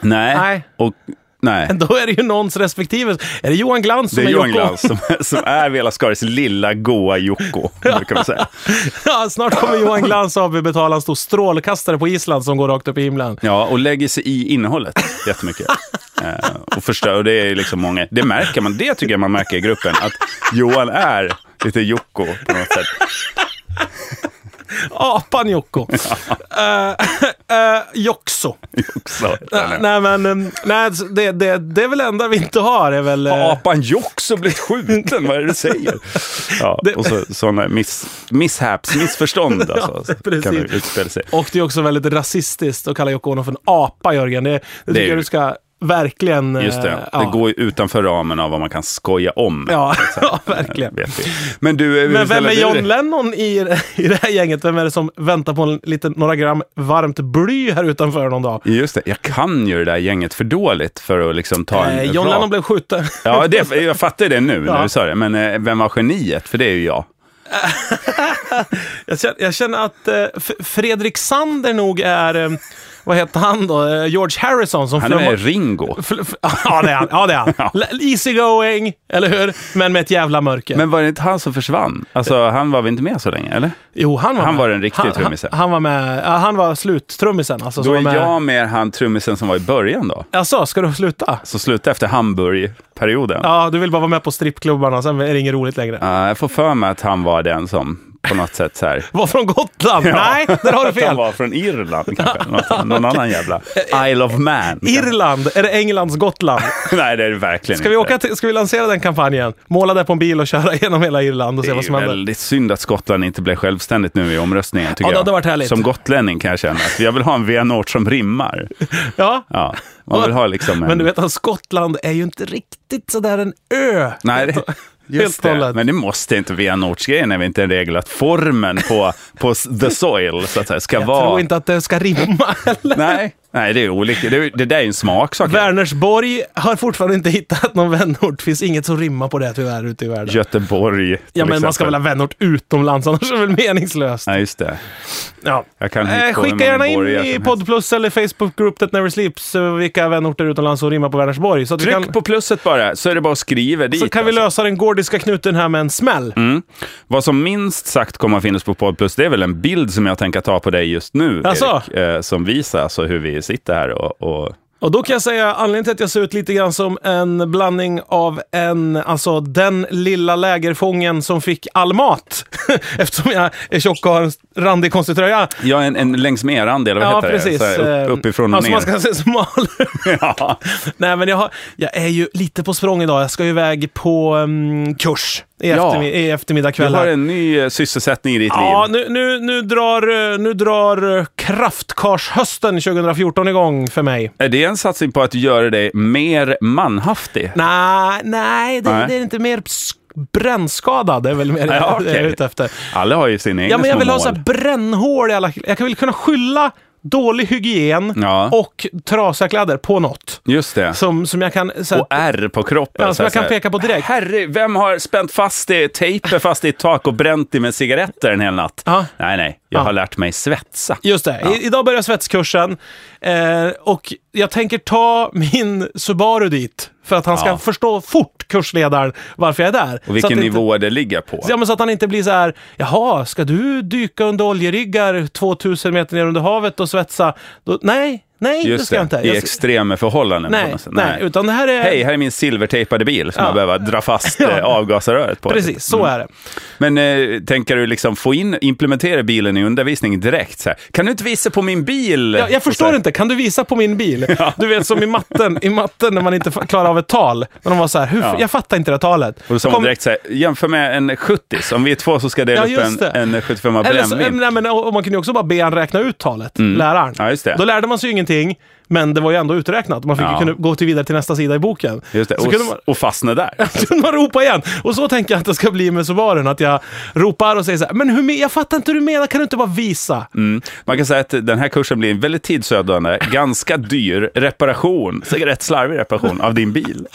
[SPEAKER 1] Nej.
[SPEAKER 2] Nej.
[SPEAKER 1] Och, nej.
[SPEAKER 2] Då är det ju någons respektive. Är det Johan Glans
[SPEAKER 1] Det
[SPEAKER 2] som
[SPEAKER 1] är
[SPEAKER 2] är,
[SPEAKER 1] Johan
[SPEAKER 2] Yoko?
[SPEAKER 1] Glans som, som är Vela Skaris lilla goa Jocko, brukar man säga.
[SPEAKER 2] ja, snart kommer Johan Glans AB betala en stor strålkastare på Island som går rakt upp i himlen.
[SPEAKER 1] Ja, och lägger sig i innehållet jättemycket. eh, och förstör, och det är liksom många, det märker man, det tycker jag man märker i gruppen, att Johan är lite Jocko på något sätt.
[SPEAKER 2] Apan Jocko. Eh, eh, Joxo.
[SPEAKER 1] Också,
[SPEAKER 2] Nej, men eh, nej, det, det, det är väl det enda vi inte har. Är väl, eh,
[SPEAKER 1] Har apan Joxo blivit skjuten? Vad är det du säger? Ja, och så, sådana miss, mishaps, missförstånd alltså,
[SPEAKER 2] precis.
[SPEAKER 1] kan det utspela sig.
[SPEAKER 2] Och det är också väldigt rasistiskt att kalla Yoko Ono för en apa, Jörgen. Det, det tycker
[SPEAKER 1] ju-
[SPEAKER 2] jag du ska verkligen... eh,
[SPEAKER 1] Just det,
[SPEAKER 2] ja.
[SPEAKER 1] det går ju utanför ramen av vad man kan skoja om. Eh,
[SPEAKER 2] Ja, ja verkligen.
[SPEAKER 1] Vet vi. Men du, hur
[SPEAKER 2] Men vem
[SPEAKER 1] ställer
[SPEAKER 2] är
[SPEAKER 1] du dig?
[SPEAKER 2] John Lennon i, i det här gänget? Vem är det som väntar på en liten, några gram varmt bly här utanför någon dag?
[SPEAKER 1] Just det, jag kan ju det där gänget för dåligt för att liksom ta en
[SPEAKER 2] Eh, John
[SPEAKER 1] rak-
[SPEAKER 2] Lennon blev skjuten.
[SPEAKER 1] Ja, det, jag fattar ju det nu när
[SPEAKER 2] Ja.
[SPEAKER 1] du sa det. Men eh, vem var geniet? För det är ju jag.
[SPEAKER 2] Jag känner, jag känner att eh, F- Fredrik Sander nog är, eh, vad heter han då, Eh, George Harrison som
[SPEAKER 1] Han är
[SPEAKER 2] flummar-
[SPEAKER 1] med Ringo.
[SPEAKER 2] Fl- f- Ja, det är han. Ja, det är han. L- Easy going, eller hur? Men med ett jävla mörker.
[SPEAKER 1] Men var det inte han som försvann? Alltså, han var väl inte med så länge, eller?
[SPEAKER 2] jo, han var
[SPEAKER 1] han
[SPEAKER 2] med.
[SPEAKER 1] var den riktiga
[SPEAKER 2] Han- han-
[SPEAKER 1] trummisen.
[SPEAKER 2] Han, var med. Ja, han var sluttrummisen. Alltså,
[SPEAKER 1] Då
[SPEAKER 2] som
[SPEAKER 1] är
[SPEAKER 2] var med.
[SPEAKER 1] jag med han trummisen som var i början då.
[SPEAKER 2] Alltså, ska du sluta?
[SPEAKER 1] Så sluta efter Hamburg-perioden.
[SPEAKER 2] Ja, du vill bara vara med på strippklubbarna, sen är det inget roligt längre.
[SPEAKER 1] Ja, jag får för mig att han var den som på något sätt så här...
[SPEAKER 2] Var från Gotland? Nej, där har du
[SPEAKER 1] Att han
[SPEAKER 2] fel.
[SPEAKER 1] var från Irland kanske. Något, någon annan jävla Isle of Man.
[SPEAKER 2] Irland, är det Englands Gotland?
[SPEAKER 1] Nej, det är det verkligen
[SPEAKER 2] Ska vi,
[SPEAKER 1] inte.
[SPEAKER 2] åka till, ska vi lansera den kampanjen? Måla där på en bil och köra genom hela Irland och
[SPEAKER 1] det
[SPEAKER 2] se
[SPEAKER 1] är
[SPEAKER 2] vad
[SPEAKER 1] ju
[SPEAKER 2] som händer.
[SPEAKER 1] väldigt synd att Skottland inte blev självständigt nu i omröstningen, tycker
[SPEAKER 2] Ja, det
[SPEAKER 1] jag.
[SPEAKER 2] hade varit härligt.
[SPEAKER 1] Som gotlänning kan jag känna att jag vill ha en venort som rimmar.
[SPEAKER 2] Ja.
[SPEAKER 1] Ja, man vill ha liksom en...
[SPEAKER 2] Men du vet att Skottland är ju inte riktigt sådär en ö.
[SPEAKER 1] Nej, det, just
[SPEAKER 2] Helt och
[SPEAKER 1] det.
[SPEAKER 2] hållet.
[SPEAKER 1] Men det måste inte via Nordsgrejen är vi inte en regel att formen på, på s- the soil så att säga, ska
[SPEAKER 2] Jag tror
[SPEAKER 1] vara...
[SPEAKER 2] inte att det ska rimma heller.
[SPEAKER 1] Nej, nej, det är olika. Det, är- det där är ju en smaksak.
[SPEAKER 2] Vänersborg har fortfarande inte hittat någon vänort. finns inget som rimmar på det tyvärr ute i världen.
[SPEAKER 1] Göteborg. till
[SPEAKER 2] Ja, men man ska
[SPEAKER 1] exempel.
[SPEAKER 2] väl ha vänort utomlands, annars är det väl meningslöst.
[SPEAKER 1] Nej, just det.
[SPEAKER 2] Ja.
[SPEAKER 1] Jag kan hitta
[SPEAKER 2] Eh,
[SPEAKER 1] på hur
[SPEAKER 2] skicka
[SPEAKER 1] många
[SPEAKER 2] gärna in
[SPEAKER 1] borgar
[SPEAKER 2] i
[SPEAKER 1] som
[SPEAKER 2] Poddplus eller Facebookgrupp That Never Sleeps eh, vilka vänorter utomlands som rimmar på Vänersborg. Så, att vi
[SPEAKER 1] Tryck
[SPEAKER 2] kan,
[SPEAKER 1] på plusset bara, så är det bara att skriva dit.
[SPEAKER 2] så kan vi
[SPEAKER 1] alltså.
[SPEAKER 2] lösa den gordiska knuten här med en smäll.
[SPEAKER 1] Vad som minst sagt kommer att finnas på Poddplus, det är väl en bild som jag tänker ta på dig just nu,
[SPEAKER 2] Alltså?
[SPEAKER 1] Erik, eh, som visar alltså hur vi sitter här och... och
[SPEAKER 2] Och då kan jag säga anledningen till att jag ser ut lite grann som en blandning av en, alltså den lilla lägerfången som fick all mat. Eftersom jag är tjock och har en randig konstig tröja.
[SPEAKER 1] ja, en, en längs med er-andel, vad
[SPEAKER 2] Ja,
[SPEAKER 1] heter
[SPEAKER 2] precis.
[SPEAKER 1] det? Så här,
[SPEAKER 2] Eh,
[SPEAKER 1] upp, uppifrån och
[SPEAKER 2] alltså,
[SPEAKER 1] ner.
[SPEAKER 2] man ska se smal.
[SPEAKER 1] ja.
[SPEAKER 2] Nej, men jag, har, jag är ju lite på språng idag. Jag ska ju iväg på um, kurs i,
[SPEAKER 1] Ja.
[SPEAKER 2] eftermi- i eftermiddag
[SPEAKER 1] Du
[SPEAKER 2] kväll.
[SPEAKER 1] har
[SPEAKER 2] här.
[SPEAKER 1] en ny eh, sysselsättning i ditt
[SPEAKER 2] Ja,
[SPEAKER 1] liv.
[SPEAKER 2] nu, nu, nu drar, eh, nu drar eh, kraftkarshösten 2014 igång för mig.
[SPEAKER 1] Är det en satsning på att göra dig mer manhaftig?
[SPEAKER 2] Nej, nej, det,
[SPEAKER 1] Nej.
[SPEAKER 2] det är inte mer ps- brännskadad. Det är väl mer det
[SPEAKER 1] Ja, okej.
[SPEAKER 2] jag är ute efter.
[SPEAKER 1] Alla har ju sina egna
[SPEAKER 2] Ja, men jag
[SPEAKER 1] små
[SPEAKER 2] vill ha
[SPEAKER 1] mål.
[SPEAKER 2] så här brännhål i alla... Jag kan väl kunna skylla dålig hygien
[SPEAKER 1] Ja.
[SPEAKER 2] och trasiga kläder på något.
[SPEAKER 1] Just det.
[SPEAKER 2] Som, som jag kan... Så här,
[SPEAKER 1] Och ärr på kroppen.
[SPEAKER 2] Ja, som
[SPEAKER 1] så här,
[SPEAKER 2] jag kan
[SPEAKER 1] så här.
[SPEAKER 2] peka på direkt.
[SPEAKER 1] Herre, vem har spänt fast det, tejper fast det i ett tak och bränt det med cigaretter en hel natt?
[SPEAKER 2] Ja.
[SPEAKER 1] Nej, nej. Jag
[SPEAKER 2] Ja.
[SPEAKER 1] har lärt mig svetsa.
[SPEAKER 2] Just det. I, idag börjar svetskursen eh, och jag tänker ta min Subaru dit för att han ska
[SPEAKER 1] Ja.
[SPEAKER 2] förstå fort, kursledaren, varför jag är där.
[SPEAKER 1] Och
[SPEAKER 2] Så att
[SPEAKER 1] vilken
[SPEAKER 2] inte-
[SPEAKER 1] nivå det ligger på.
[SPEAKER 2] Ja, men så att han inte blir så här, jaha, ska du dyka under oljeriggar 2000 meter ner under havet och svetsa? Då, nej, nej, det
[SPEAKER 1] Just
[SPEAKER 2] ska jag inte.
[SPEAKER 1] det. I
[SPEAKER 2] Jag, ska-
[SPEAKER 1] extrema förhållanden. på
[SPEAKER 2] nej,
[SPEAKER 1] något sätt.
[SPEAKER 2] nej, utan det här är...
[SPEAKER 1] Hej, här är min silvertejpade bil som
[SPEAKER 2] Ja.
[SPEAKER 1] jag behöver dra fast eh, avgasröret på.
[SPEAKER 2] Precis, så är det.
[SPEAKER 1] Mm. Men eh, tänker du liksom få in, implementera bilen i undervisning direkt? Så här. Kan du inte visa på min bil?
[SPEAKER 2] Jag, jag förstår inte, kan du visa på min bil? Du vet som i matten, i matten när man inte fa- klarar av ett tal. Men de var så här, hur, jag fattar inte det här talet.
[SPEAKER 1] Och då sa
[SPEAKER 2] Kom-
[SPEAKER 1] man direkt så här, jämför med en 70 om vi är två så ska jag
[SPEAKER 2] Ja,
[SPEAKER 1] dela
[SPEAKER 2] just
[SPEAKER 1] upp en, en 75
[SPEAKER 2] Eller så,
[SPEAKER 1] brännvin.
[SPEAKER 2] nej, men, och man kunde ju också bara be han räkna ut talet, läraren.
[SPEAKER 1] Mm. Ja, just det.
[SPEAKER 2] Då lärde man sig ju ingenting, men det var ju ändå uträknat. Man fick
[SPEAKER 1] Ja.
[SPEAKER 2] ju kunna gå till vidare till nästa sida i boken.
[SPEAKER 1] Just det,
[SPEAKER 2] Så
[SPEAKER 1] och,
[SPEAKER 2] kunde man,
[SPEAKER 1] och fastna där.
[SPEAKER 2] Så man ropar igen. Och så tänker jag att det ska bli med Subarun. Att jag ropar och säger så här, men hur, me- jag fattar inte hur du menar, kan du inte bara visa?
[SPEAKER 1] Mm. Man kan säga att den här kursen blir en väldigt tidsödande, ganska dyr reparation, så rätt slarvig reparation av din bil.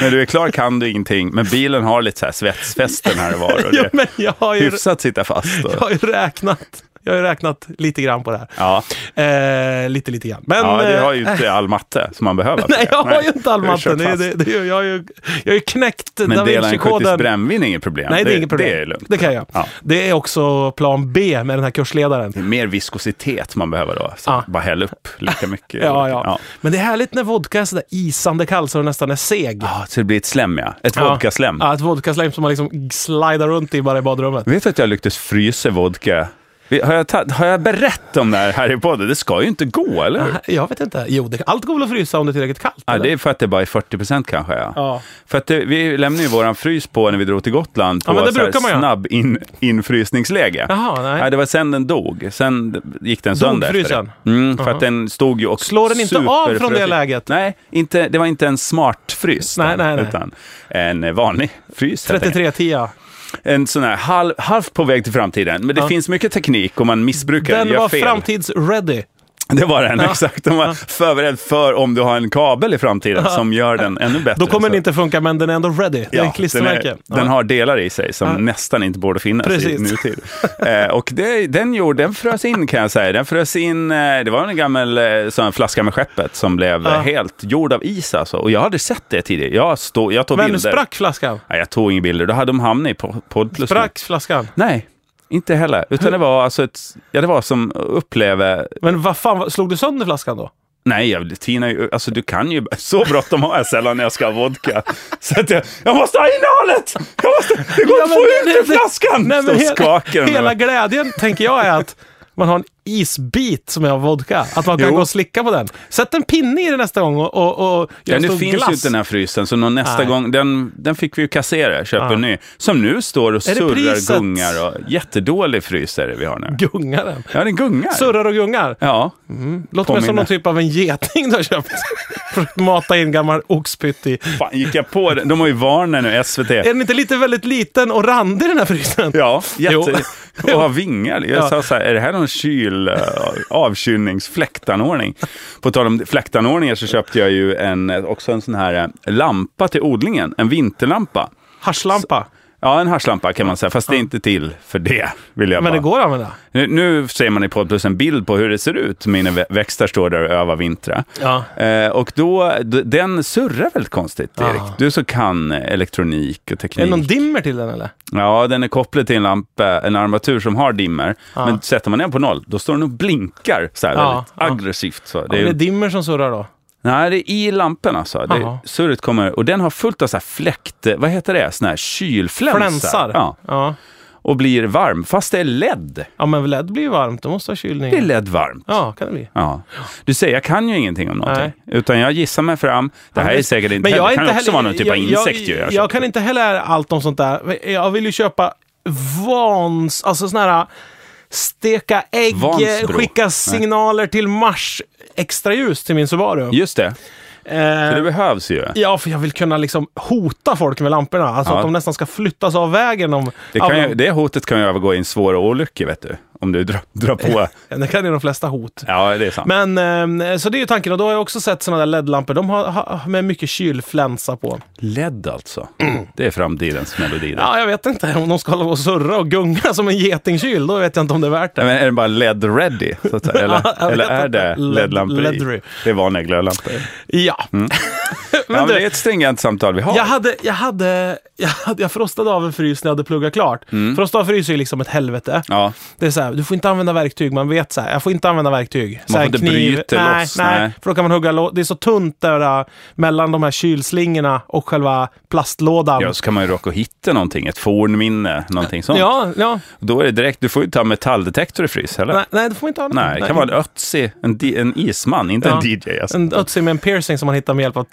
[SPEAKER 1] När du är klar kan du ingenting, men bilen har lite så här svetsfästen här och var. Och
[SPEAKER 2] Ja,
[SPEAKER 1] det
[SPEAKER 2] men jag har, ju,
[SPEAKER 1] hyfsat sitta fast.
[SPEAKER 2] jag
[SPEAKER 1] Och,
[SPEAKER 2] har ju räknat. Jag har ju räknat lite grann på det här.
[SPEAKER 1] ja.
[SPEAKER 2] Eh, lite, lite grann. Men,
[SPEAKER 1] ja, det
[SPEAKER 2] eh,
[SPEAKER 1] har ju inte all matte som man behöver.
[SPEAKER 2] Nej, jag har ju inte all
[SPEAKER 1] du har kört
[SPEAKER 2] matten. Det, är-
[SPEAKER 1] fast.
[SPEAKER 2] det, det, jag har ju, jag har ju knäckt Da
[SPEAKER 1] Men dela en 70
[SPEAKER 2] Vinci-koden.
[SPEAKER 1] brännvin är inget problem.
[SPEAKER 2] Nej, det, är inget problem.
[SPEAKER 1] Det är lugnt.
[SPEAKER 2] Det kan jag.
[SPEAKER 1] Ja.
[SPEAKER 2] Det är också plan B med den här kursledaren.
[SPEAKER 1] Det är mer viskositet man behöver då. Så
[SPEAKER 2] Ja.
[SPEAKER 1] Bara häll upp lika mycket.
[SPEAKER 2] Ja, ja. Men det är härligt när vodka är sådär isande kall så den nästan är seg.
[SPEAKER 1] Ja, Ah, så det blir ett slem, ja. Ett
[SPEAKER 2] Ja.
[SPEAKER 1] vodkaslem.
[SPEAKER 2] Ja, ett vodkaslem som man liksom slidar runt i bara i badrummet.
[SPEAKER 1] Vet du att jag lyckades frysa vodka? Vi- Har jag, ta- har jag berättat om det här, här i podden? Det ska ju inte gå, eller hur?
[SPEAKER 2] Jag vet inte. Jo, det, allt går väl att frysa om det är tillräckligt kallt?
[SPEAKER 1] Mm. Ja,
[SPEAKER 2] eller?
[SPEAKER 1] det är för att det bara är 40 procent kanske. Ja.
[SPEAKER 2] Ja.
[SPEAKER 1] För att det, vi lämnade ju våran frys på när vi drog till Gotland på
[SPEAKER 2] Ja, men det
[SPEAKER 1] så här
[SPEAKER 2] brukar man göra.
[SPEAKER 1] snabb in, infrysningsläge.
[SPEAKER 2] Jaha, nej.
[SPEAKER 1] Ja, det var sen den dog. Sen gick den sönder. efter
[SPEAKER 2] frysen?
[SPEAKER 1] det. Mm, för att den stod ju och
[SPEAKER 2] Slår den inte av från det
[SPEAKER 1] superfrös-
[SPEAKER 2] läget?
[SPEAKER 1] Nej, inte, det var inte en smart frys.
[SPEAKER 2] Nej,
[SPEAKER 1] den,
[SPEAKER 2] nej, nej.
[SPEAKER 1] Utan en vanlig frys. helt enkelt.
[SPEAKER 2] 3310.
[SPEAKER 1] En sån här halv, halvt på väg till framtiden. Men det
[SPEAKER 2] Ja.
[SPEAKER 1] finns mycket teknik och man missbrukar
[SPEAKER 2] Den
[SPEAKER 1] gör
[SPEAKER 2] var
[SPEAKER 1] fel.
[SPEAKER 2] framtids-ready.
[SPEAKER 1] Det var den, exakt. Den var förberedd för om du har en kabel i framtiden som gör den ännu bättre.
[SPEAKER 2] Då kommer
[SPEAKER 1] Så-
[SPEAKER 2] den inte funka, men den är ändå ready. det är ett klistermärke.
[SPEAKER 1] Den, är, den har delar i sig som nästan inte borde finnas
[SPEAKER 2] Precis.
[SPEAKER 1] i nutid. Eh, och det, den, gjorde, den frös in kan jag säga. Den frös in, eh, det var en gammal eh, sån här flaska med skeppet som blev eh, helt gjord av is alltså. Och jag hade sett det tidigare. Jag, stod, jag tog
[SPEAKER 2] Men nu
[SPEAKER 1] bilder.
[SPEAKER 2] sprack flaskan.
[SPEAKER 1] Nej, jag tog inga bilder. Då hade de hamnat i po- podd plus.
[SPEAKER 2] Sprack flaskan.
[SPEAKER 1] Nej, inte heller. Utan det var alltså ett, ja det var som uppleve,
[SPEAKER 2] Men vad fan, vad- slog du sönder flaskan då?
[SPEAKER 1] nej jag tinar ju, alltså du kan ju, så bråttom har jag sällan när jag ska ha vodka. Så att jag, jag måste ha innehållet! Jag måste, det går
[SPEAKER 2] Ja,
[SPEAKER 1] inte att
[SPEAKER 2] men
[SPEAKER 1] få
[SPEAKER 2] det-
[SPEAKER 1] ut ur
[SPEAKER 2] det-
[SPEAKER 1] flaskan!
[SPEAKER 2] Nej, men
[SPEAKER 1] Så
[SPEAKER 2] hela-
[SPEAKER 1] skakar den.
[SPEAKER 2] hela glädjen, tänker jag, är att man har en isbit som är av vodka. Att man kan
[SPEAKER 1] Jo.
[SPEAKER 2] gå och slicka på den. Sätt en pinne i den nästa gång och, och, och gör
[SPEAKER 1] Ja,
[SPEAKER 2] en
[SPEAKER 1] nu
[SPEAKER 2] stor
[SPEAKER 1] finns
[SPEAKER 2] glass. Ah.
[SPEAKER 1] ju inte den här frysen, så någon nästa
[SPEAKER 2] Nej.
[SPEAKER 1] gång, den, den fick vi ju kassera, köpa en ny. Som nu står och
[SPEAKER 2] Ah. Är det
[SPEAKER 1] surrar,
[SPEAKER 2] priset?
[SPEAKER 1] gungar och jättedålig frys är det vi har nu.
[SPEAKER 2] Gungar den.
[SPEAKER 1] Ja, den gungar.
[SPEAKER 2] Surrar och gungar.
[SPEAKER 1] Ja,
[SPEAKER 2] Låter mig
[SPEAKER 1] Påminner.
[SPEAKER 2] som någon typ av en geting du har köpt. För att mata in gammal oxpytt i.
[SPEAKER 1] fan gick jag på den? De har ju Varner nu, SVT.
[SPEAKER 2] Är den inte lite väldigt liten och randig den här frysen?
[SPEAKER 1] Ja,
[SPEAKER 2] Jo.
[SPEAKER 1] jätte... och har vingar. Jag
[SPEAKER 2] Ja.
[SPEAKER 1] sa så här, är det här någon kyl, eh, avkylningsfläktanordning? På tal om fläktanordningar så köpte jag ju en, eh, också en sån här eh, lampa till odlingen, en vinterlampa.
[SPEAKER 2] Haschlampa.
[SPEAKER 1] Ja, en haschlampa kan man säga, fast det är inte till för det, vill jag
[SPEAKER 2] Men
[SPEAKER 1] bara.
[SPEAKER 2] det går att använda.
[SPEAKER 1] Nu, nu ser man i Podplus en bild på hur det ser ut. Mina vä- växter står där och övar vintra.
[SPEAKER 2] Ja.
[SPEAKER 1] Eh, och då, d- den surrar väldigt konstigt, Erik. Du som kan eh, elektronik och
[SPEAKER 2] Ah. Är
[SPEAKER 1] teknik.
[SPEAKER 2] det någon dimmer till den eller?
[SPEAKER 1] Ja, den är kopplad till en lampa, en armatur som har dimmer. Men sätter man den på noll, då står den och blinkar så här
[SPEAKER 2] Ja,
[SPEAKER 1] väldigt
[SPEAKER 2] ja.
[SPEAKER 1] aggressivt. Så. Det
[SPEAKER 2] Det
[SPEAKER 1] är
[SPEAKER 2] är,
[SPEAKER 1] ju,
[SPEAKER 2] det dimmer som surrar då?
[SPEAKER 1] Nej, det är i lampan alltså. Det,
[SPEAKER 2] Jaha.
[SPEAKER 1] surret kommer, och den har fullt av så här fläkt, vad heter det, sån här kylflänsar.
[SPEAKER 2] Flänsar?
[SPEAKER 1] Ja,
[SPEAKER 2] ja.
[SPEAKER 1] och blir varm, fast det är LED.
[SPEAKER 2] Ja, men LED blir ju varmt. Då måste ha kylning.
[SPEAKER 1] Det är LED varmt.
[SPEAKER 2] Ja, kan det bli.
[SPEAKER 1] Ja. Du ser, jag kan ju ingenting om någonting. Utan jag gissar mig fram. Det här är säkert inte...
[SPEAKER 2] Men jag
[SPEAKER 1] det
[SPEAKER 2] är
[SPEAKER 1] kan också
[SPEAKER 2] inte heller,
[SPEAKER 1] vara någon typ av
[SPEAKER 2] jag-
[SPEAKER 1] insekt ju.
[SPEAKER 2] Jag, jag,
[SPEAKER 1] köper.
[SPEAKER 2] kan inte heller allt om sånt där. Jag vill ju köpa vans... Alltså såna här steka ägg,
[SPEAKER 1] Vansbro.
[SPEAKER 2] skicka signaler till Mars. Extra ljus till min Subaru.
[SPEAKER 1] Just det,
[SPEAKER 2] Eh,
[SPEAKER 1] det behövs ju.
[SPEAKER 2] Ja, för jag vill kunna liksom hota folk med lamporna. Alltså
[SPEAKER 1] Ja.
[SPEAKER 2] att de nästan ska flyttas av vägen. Om,
[SPEAKER 1] Det, kan
[SPEAKER 2] av,
[SPEAKER 1] ju, det hotet kan ju övergå i en svår olycka, vet du. Om du drar, drar på.
[SPEAKER 2] det kan ju de flesta hot.
[SPEAKER 1] Ja, det är sant.
[SPEAKER 2] Men, eh, så det är ju tanken. Och då har jag också sett sådana där LED-lampor. De har, har med mycket kylflänsa på.
[SPEAKER 1] LED alltså. Det är framtidens melodi. Ja.
[SPEAKER 2] Mm. Ja, jag vet inte. Om de ska hålla på och surra och gunga som en getingkyl, då vet jag inte om det är värt det.
[SPEAKER 1] Men är det bara LED-ready? så att säga?
[SPEAKER 2] Ja, jag
[SPEAKER 1] Eller,
[SPEAKER 2] vet
[SPEAKER 1] eller är
[SPEAKER 2] inte.
[SPEAKER 1] det
[SPEAKER 2] LED-
[SPEAKER 1] LED-lampor i?
[SPEAKER 2] LED-ry.
[SPEAKER 1] Det är vanliga glödlampor.
[SPEAKER 2] Ja.
[SPEAKER 1] Mm. Ja, men
[SPEAKER 2] du-
[SPEAKER 1] det är ett stringent samtal vi har.
[SPEAKER 2] Jag hade, jag hade, jag hade, jag frostade av en frys när jag hade pluggat klart.
[SPEAKER 1] Mm.
[SPEAKER 2] Frosta av frys är ju liksom ett helvete.
[SPEAKER 1] Ja.
[SPEAKER 2] Det är så här, du får inte använda verktyg. Man vet så här, jag får inte använda verktyg. Man så
[SPEAKER 1] får
[SPEAKER 2] här,
[SPEAKER 1] inte bryta
[SPEAKER 2] nej,
[SPEAKER 1] loss,
[SPEAKER 2] Nej,
[SPEAKER 1] nej.
[SPEAKER 2] för då kan man hugga lo- Det är så tunt där äh, mellan de här kylslingorna och själva plastlådan.
[SPEAKER 1] Ja, så kan man ju råka hitta någonting, ett fornminne, någonting sånt.
[SPEAKER 2] ja, ja.
[SPEAKER 1] Då är det direkt, du får ju ta metalldetektor i frys, eller?
[SPEAKER 2] Nej, nej, det får man inte ha.
[SPEAKER 1] Nej, det kan vara en ötzi, en, di- en isman, inte
[SPEAKER 2] Ja.
[SPEAKER 1] en DJ. Alltså.
[SPEAKER 2] En ötzi med en piercing som man hittar med hjälp av... t-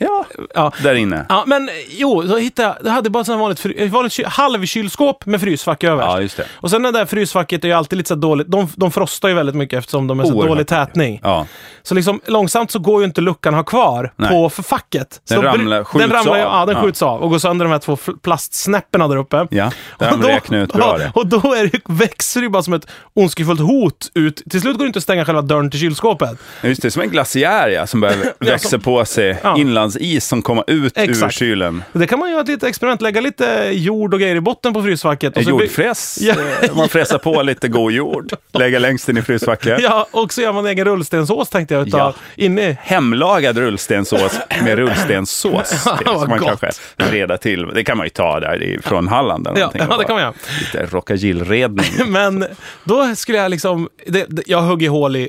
[SPEAKER 1] Ja,
[SPEAKER 2] Ja.
[SPEAKER 1] där inne.
[SPEAKER 2] Ja, men jo, så hittade jag, jag hade bara ett sånt här vanligt, fry- ett vanligt ky- halvkylskåp med frysfack över.
[SPEAKER 1] Ja, just det.
[SPEAKER 2] Och sen det där frysfacket är ju alltid lite så här dåligt, de, de frostar ju väldigt mycket eftersom de är så
[SPEAKER 1] Oerhört
[SPEAKER 2] dålig tätning.
[SPEAKER 1] Ja.
[SPEAKER 2] Så liksom långsamt så går ju inte luckan ha kvar
[SPEAKER 1] Nej.
[SPEAKER 2] på för facket.
[SPEAKER 1] Den
[SPEAKER 2] så bry-
[SPEAKER 1] ramlar- skjuts
[SPEAKER 2] den ramlar, ju-
[SPEAKER 1] av.
[SPEAKER 2] Ja, den
[SPEAKER 1] Ja.
[SPEAKER 2] skjuts av och går sönder de här två fl- plastsnäpporna där uppe.
[SPEAKER 1] Ja, där har
[SPEAKER 2] Och
[SPEAKER 1] de räknat ut bra
[SPEAKER 2] ja,
[SPEAKER 1] det.
[SPEAKER 2] Och då är det, växer det ju bara som ett ondskefullt hot ut. Till slut går det inte att stänga själva dörren till kylskåpet.
[SPEAKER 1] Ja, Just det, som en glaciär ja, som börjar växa på sig.
[SPEAKER 2] Ja.
[SPEAKER 1] Inlandsis som kommer ut ur
[SPEAKER 2] Exakt.
[SPEAKER 1] kylen.
[SPEAKER 2] Det kan man göra ett litet experiment, lägga lite jord och grejer i botten på frysfacket. Och så by-
[SPEAKER 1] Jordfräs,
[SPEAKER 2] Ja.
[SPEAKER 1] eh, man fräsar på lite god jord, lägger längst in i frysfacket.
[SPEAKER 2] Ja, och så gör man egen rullstensås tänkte jag. Utav,
[SPEAKER 1] Ja.
[SPEAKER 2] inne.
[SPEAKER 1] Hemlagad rullstenssås med rullstenssås. Det
[SPEAKER 2] Vad
[SPEAKER 1] ska man
[SPEAKER 2] gott.
[SPEAKER 1] kanske reda till. Det kan man ju ta där i- från Halland eller
[SPEAKER 2] Ja,
[SPEAKER 1] någonting.
[SPEAKER 2] ja, det kan man göra.
[SPEAKER 1] Lite rockagillredning.
[SPEAKER 2] Men då skulle jag liksom, det, det, jag hugger hål i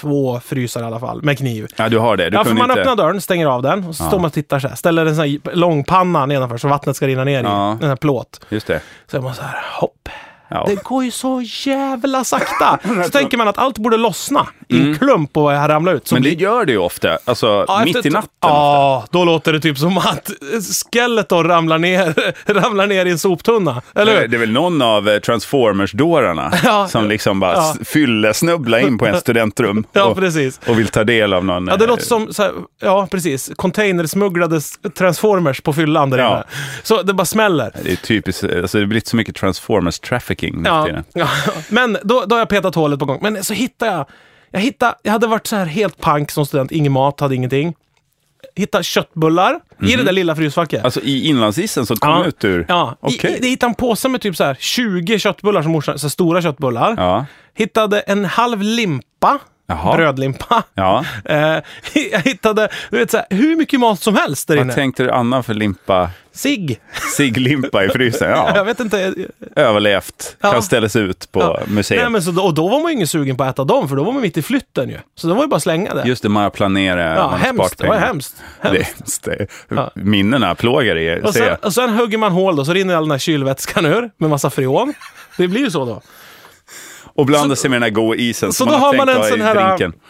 [SPEAKER 2] två frysar i alla fall, med kniv.
[SPEAKER 1] Ja, du har det. Du
[SPEAKER 2] Ja, för
[SPEAKER 1] kunde
[SPEAKER 2] man
[SPEAKER 1] inte...
[SPEAKER 2] öppnar dörren, stänger av den och så står man och tittar så här. Ställer en sån här lång panna nedanför så vattnet ska rinna ner
[SPEAKER 1] Ja.
[SPEAKER 2] i den här plåt.
[SPEAKER 1] Just det.
[SPEAKER 2] Så är man så här, hopp.
[SPEAKER 1] Ja.
[SPEAKER 2] Det går ju så jävla sakta. så tänker man att allt borde lossna i en klump och här ramla ut. Så
[SPEAKER 1] Mm. Men det
[SPEAKER 2] blir-
[SPEAKER 1] gör det ju ofta, alltså
[SPEAKER 2] Ja,
[SPEAKER 1] mitt
[SPEAKER 2] efter-
[SPEAKER 1] i natten.
[SPEAKER 2] Ja, då låter det typ som att Skeletor ramlar ner, ramlar ner i en soptunna. Eller hur?
[SPEAKER 1] Det är väl någon av eh, Transformers-dårarna
[SPEAKER 2] Ja.
[SPEAKER 1] som liksom bara
[SPEAKER 2] Ja.
[SPEAKER 1] s- fyller, snubblar in på en studentrum
[SPEAKER 2] Ja,
[SPEAKER 1] och,
[SPEAKER 2] precis.
[SPEAKER 1] och vill ta del av någon...
[SPEAKER 2] Ja, det
[SPEAKER 1] eh,
[SPEAKER 2] låter som, så här, ja precis, containersmugglade s- transformers på fyllan där
[SPEAKER 1] Ja.
[SPEAKER 2] inne. Så det bara smäller.
[SPEAKER 1] Det är typiskt, eh, alltså det blir inte så mycket Transformers-trafficking nu för
[SPEAKER 2] Ja.
[SPEAKER 1] tiden.
[SPEAKER 2] Ja. Men då, då har jag petat hålet på gång. Men så hittar jag Jag, hittade, jag hade varit så här helt pank som student, ingen mat, hade ingenting. Hittade köttbullar i
[SPEAKER 1] Mhm.
[SPEAKER 2] det där lilla frysfacket.
[SPEAKER 1] Alltså i inlandsisen som kom ut ur?
[SPEAKER 2] Ja,
[SPEAKER 1] Okej.
[SPEAKER 2] I, i, jag hittade en påse med typ så här 20 köttbullar, som morsan, så här stora köttbullar.
[SPEAKER 1] Ja.
[SPEAKER 2] Hittade en halv limpa,
[SPEAKER 1] Jaha.
[SPEAKER 2] brödlimpa.
[SPEAKER 1] Ja.
[SPEAKER 2] Eh, jag hittade du vet, så här, hur mycket mat som helst där
[SPEAKER 1] Vad
[SPEAKER 2] inne.
[SPEAKER 1] tänkte du annan för limpa?
[SPEAKER 2] Sig.
[SPEAKER 1] Siglimpa i frysen?
[SPEAKER 2] Jag
[SPEAKER 1] Ja.
[SPEAKER 2] vet inte.
[SPEAKER 1] Överlevt.
[SPEAKER 2] Ja.
[SPEAKER 1] Kan ställas ut på
[SPEAKER 2] Ja.
[SPEAKER 1] museet.
[SPEAKER 2] Nej, men så, då- och då var man ju ingen sugen på att äta dem, för då var man mitt i flytten ju. Så då var det bara att slänga det.
[SPEAKER 1] Just det, man planerar.
[SPEAKER 2] ja,
[SPEAKER 1] man har sparat
[SPEAKER 2] hemskt. Det var
[SPEAKER 1] pengar.
[SPEAKER 2] hemskt. hemskt.
[SPEAKER 1] Det, det, Minnena plågar dig,
[SPEAKER 2] Och
[SPEAKER 1] ser
[SPEAKER 2] sen,
[SPEAKER 1] jag.
[SPEAKER 2] och sen hugger man hål då, så rinner all den här kylvätskan ur med massa freon. Det blir ju så då.
[SPEAKER 1] Och blandar sig med den här goa isen
[SPEAKER 2] så
[SPEAKER 1] som
[SPEAKER 2] då
[SPEAKER 1] man
[SPEAKER 2] har
[SPEAKER 1] har
[SPEAKER 2] man
[SPEAKER 1] tänkt
[SPEAKER 2] en
[SPEAKER 1] ha i
[SPEAKER 2] sån här- äh,
[SPEAKER 1] drinken.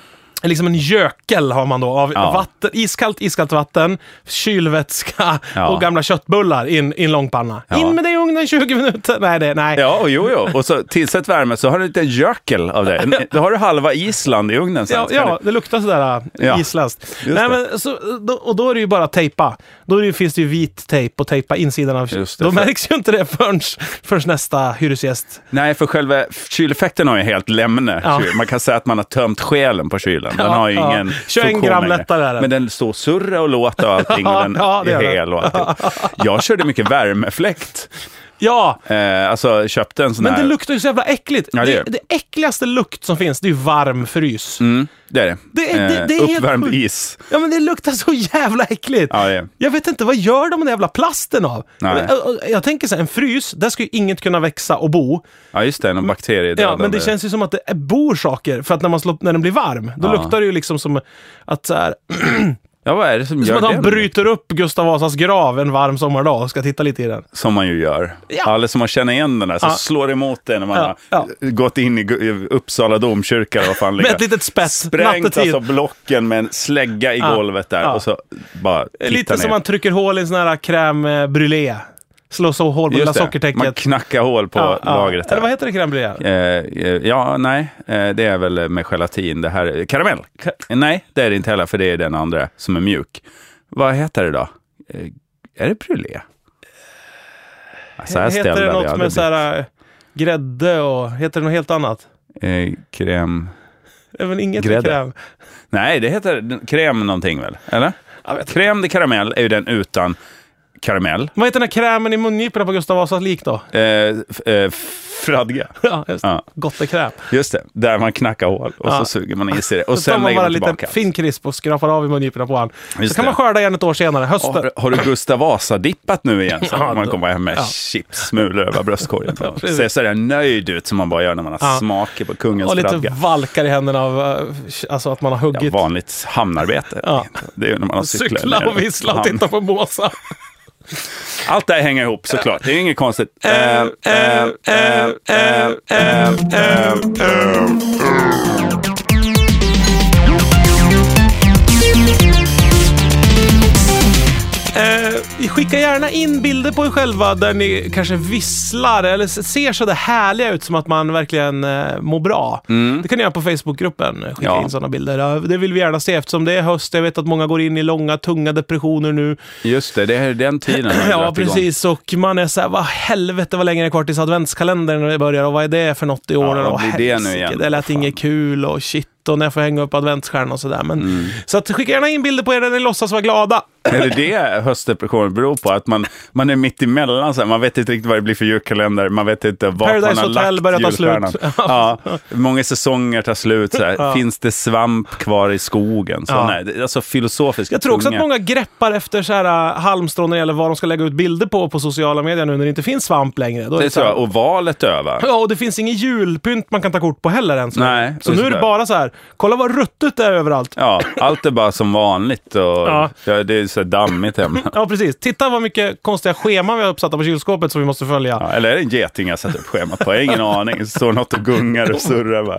[SPEAKER 2] Liksom en gökel har man då av
[SPEAKER 1] Ja.
[SPEAKER 2] vatten, iskallt, iskallt vatten, kylvätska
[SPEAKER 1] Ja.
[SPEAKER 2] och gamla köttbullar i en- i en långpanna.
[SPEAKER 1] Ja.
[SPEAKER 2] In med det i ugnen 20 minuter. Nej, det, nej.
[SPEAKER 1] Ja, och jo, jo. Och så tillsätt värme så har du en liten gökel av det. En- Då har du halva Island i ugnen sen.
[SPEAKER 2] Ja,
[SPEAKER 1] Så kan
[SPEAKER 2] ja, det luktar sådär äh,
[SPEAKER 1] Ja,
[SPEAKER 2] isländskt.
[SPEAKER 1] just
[SPEAKER 2] Nej,
[SPEAKER 1] det.
[SPEAKER 2] men, så, då, och då är det ju bara att tejpa. Då är det, ju- finns det ju vit tejp och tejpa insidan av
[SPEAKER 1] Just det,
[SPEAKER 2] Då
[SPEAKER 1] för-
[SPEAKER 2] märks ju inte det förrän, förrän nästa hyresgäst.
[SPEAKER 1] Nej, för själva kyleffekten har ju helt lämne.
[SPEAKER 2] Ja.
[SPEAKER 1] Man kan säga att man har tömt själen på kylen. Den
[SPEAKER 2] Ja,
[SPEAKER 1] har ju
[SPEAKER 2] ja.
[SPEAKER 1] ingen
[SPEAKER 2] 21
[SPEAKER 1] funktion
[SPEAKER 2] gram
[SPEAKER 1] längre.
[SPEAKER 2] lättare är den.
[SPEAKER 1] Men den står surra och låter och allting. och den
[SPEAKER 2] Ja, det
[SPEAKER 1] är
[SPEAKER 2] gör den.
[SPEAKER 1] hel och allting. Jag körde mycket värmefläkt.
[SPEAKER 2] Ja,
[SPEAKER 1] Eh, alltså köpte en sån
[SPEAKER 2] men
[SPEAKER 1] här.
[SPEAKER 2] det luktar ju så jävla äckligt.
[SPEAKER 1] Ja, det
[SPEAKER 2] det,
[SPEAKER 1] gör
[SPEAKER 2] det, äckligaste lukt som finns, det är ju varm frys.
[SPEAKER 1] Mm, det är det.
[SPEAKER 2] Det är- det- det är helt
[SPEAKER 1] uppvärmd
[SPEAKER 2] sjukt.
[SPEAKER 1] is.
[SPEAKER 2] Ja, men det luktar så jävla äckligt.
[SPEAKER 1] Ja, det är.
[SPEAKER 2] Jag vet inte, vad gör de med den jävla plasten av?
[SPEAKER 1] Nej.
[SPEAKER 2] Jag, jag tänker så här, en frys, där ska ju inget kunna växa och bo.
[SPEAKER 1] ja, just det. Någon bakterie.
[SPEAKER 2] Ja, men det känns ju som att det är- bor saker, för att när, man slår, när den blir varm, då
[SPEAKER 1] Ja.
[SPEAKER 2] luktar det ju liksom som att så här,
[SPEAKER 1] Ja, vad är det som
[SPEAKER 2] som
[SPEAKER 1] gör
[SPEAKER 2] att
[SPEAKER 1] det?
[SPEAKER 2] han bryter upp Gustav Vasas grav en varm sommardag och ska titta lite i den.
[SPEAKER 1] Som man ju gör.
[SPEAKER 2] Ja.
[SPEAKER 1] Alla som man känner igen den där, så
[SPEAKER 2] Ja.
[SPEAKER 1] slår emot den när man
[SPEAKER 2] Ja,
[SPEAKER 1] har gått in i Gu- i Uppsala domkyrka. eller Vad fan
[SPEAKER 2] Med
[SPEAKER 1] ligger.
[SPEAKER 2] ett litet spett,
[SPEAKER 1] sprängt
[SPEAKER 2] nattetid.
[SPEAKER 1] alltså blocken med en slägga i
[SPEAKER 2] Ja,
[SPEAKER 1] golvet där
[SPEAKER 2] ja.
[SPEAKER 1] och så bara titta
[SPEAKER 2] lite
[SPEAKER 1] ner.
[SPEAKER 2] som man trycker hål i en sån här crème brûlée. Slår så hål på lilla
[SPEAKER 1] Just det, Man
[SPEAKER 2] sockertäcket.
[SPEAKER 1] knackar hål på
[SPEAKER 2] Ja, ja.
[SPEAKER 1] lagret. Där.
[SPEAKER 2] Eller vad heter det, crème brûlée?
[SPEAKER 1] Eh, eh, ja, nej, eh, det är väl med gelatin. Det här är karamell. Ka- nej, det är det inte heller, för det är den andra som är mjuk. Vad heter det då? Eh, är det brulé? Så här
[SPEAKER 2] heter
[SPEAKER 1] ställde
[SPEAKER 2] det
[SPEAKER 1] jag
[SPEAKER 2] något med
[SPEAKER 1] aldrig
[SPEAKER 2] så här äh, grädde och... Heter det något helt annat?
[SPEAKER 1] blivit. Eh, kräm...
[SPEAKER 2] Även inget med
[SPEAKER 1] Grädde.
[SPEAKER 2] crème.
[SPEAKER 1] Nej, det heter kräm någonting väl? Eller?
[SPEAKER 2] Jag vet inte.
[SPEAKER 1] Kräm de karamell är ju den utan karamell.
[SPEAKER 2] Vad heter den här krämen i mungiporna på Gustav Vasas lik då?
[SPEAKER 1] Eh, f- eh, fradga.
[SPEAKER 2] Ja, just det.
[SPEAKER 1] Ja.
[SPEAKER 2] Gottekräm.
[SPEAKER 1] Just det, där man knackar hål och
[SPEAKER 2] Ja.
[SPEAKER 1] så suger man i sig det. Och
[SPEAKER 2] Sen tar
[SPEAKER 1] sen
[SPEAKER 2] man
[SPEAKER 1] lägger
[SPEAKER 2] bara
[SPEAKER 1] man
[SPEAKER 2] lite
[SPEAKER 1] tillbaka.
[SPEAKER 2] fin krisp och skrapar av i mungiporna på honom. Så
[SPEAKER 1] Just
[SPEAKER 2] kan
[SPEAKER 1] det.
[SPEAKER 2] man skörda igen ett år senare, hösten.
[SPEAKER 1] Har, har du Gustav Vasa-dippat nu igen? Så
[SPEAKER 2] Ja,
[SPEAKER 1] man
[SPEAKER 2] då-
[SPEAKER 1] kommer hem med
[SPEAKER 2] ja.
[SPEAKER 1] chipssmulor över bröstkorgen.
[SPEAKER 2] Ja, precis.
[SPEAKER 1] Ser sådär nöjd ut som man bara gör när man har
[SPEAKER 2] Ja.
[SPEAKER 1] smaker på kungens
[SPEAKER 2] och lite
[SPEAKER 1] fradga.
[SPEAKER 2] valkar i händerna av eh, alltså att man har
[SPEAKER 1] Ja,
[SPEAKER 2] huggit.
[SPEAKER 1] vanligt hamnarbete.
[SPEAKER 2] Ja.
[SPEAKER 1] Det är ju när man har cyklat.
[SPEAKER 2] Cykla
[SPEAKER 1] ner
[SPEAKER 2] och vissla och
[SPEAKER 1] hamn.
[SPEAKER 2] titta på måsar.
[SPEAKER 1] Allt det här hänger ihop såklart. Det är ju inget konstigt. Ehm,
[SPEAKER 2] Eh, eh, eh, eh, eh, eh.
[SPEAKER 1] ehm.
[SPEAKER 2] Eh, Skicka gärna in bilder på er själva där ni kanske visslar eller s- ser så där härliga ut som att man verkligen eh, mår bra. Det kan ni göra på Facebookgruppen. Skicka
[SPEAKER 1] Mm. Ja.
[SPEAKER 2] in sådana bilder. Ja, Det vill vi gärna se eftersom det är höst. Jag vet att många går in i långa, tunga depressioner nu.
[SPEAKER 1] Just det, det är den tiden. man har
[SPEAKER 2] Ja,
[SPEAKER 1] dragit igång.
[SPEAKER 2] precis. Och man är så här, vad helvete vad länge det är kvar tills adventskalendern börjar och vad är det för något i år?
[SPEAKER 1] Ja,
[SPEAKER 2] och,
[SPEAKER 1] vad blir det nu igen?
[SPEAKER 2] Det lät
[SPEAKER 1] Fan.
[SPEAKER 2] inget kul och shit och när jag får hänga upp adventsstjärnan och sådär. Men,
[SPEAKER 1] Mm.
[SPEAKER 2] Så att, skicka gärna in bilder på er där ni låtsas vara glada.
[SPEAKER 1] Är det det höstdepressionen beror på? Att man, man är mitt emellan, så här. man vet inte riktigt vad det blir för julkalender, man vet inte vart
[SPEAKER 2] Paradise
[SPEAKER 1] man har
[SPEAKER 2] Hotel
[SPEAKER 1] lagt
[SPEAKER 2] börjar ta
[SPEAKER 1] julstjärnan.
[SPEAKER 2] slut.
[SPEAKER 1] Ja, många säsonger tar slut, så här. finns det svamp kvar i skogen? Så,
[SPEAKER 2] Ja.
[SPEAKER 1] nej, det- alltså filosofiskt
[SPEAKER 2] Jag tror också att många greppar efter så här, äh, halmstrån när det gäller vad de ska lägga ut bilder på på sociala medier nu när det inte finns svamp längre. Då är
[SPEAKER 1] Det är
[SPEAKER 2] så här-
[SPEAKER 1] så, och valet över.
[SPEAKER 2] Ja, och det finns ingen julpynt man kan ta kort på heller än så.
[SPEAKER 1] Nej,
[SPEAKER 2] så
[SPEAKER 1] just
[SPEAKER 2] nu är det
[SPEAKER 1] det.
[SPEAKER 2] bara så här, kolla vad ruttet det är överallt.
[SPEAKER 1] Ja, allt är bara som vanligt och ja. det är så här dammigt hemma.
[SPEAKER 2] Ja, precis. Titta vad mycket konstiga scheman vi har uppsatta på kylskåpet som vi måste följa.
[SPEAKER 1] Ja, eller är det en geting jag satt upp schemat på? Jag har ingen aning. Det står något och gungar och surrar bara.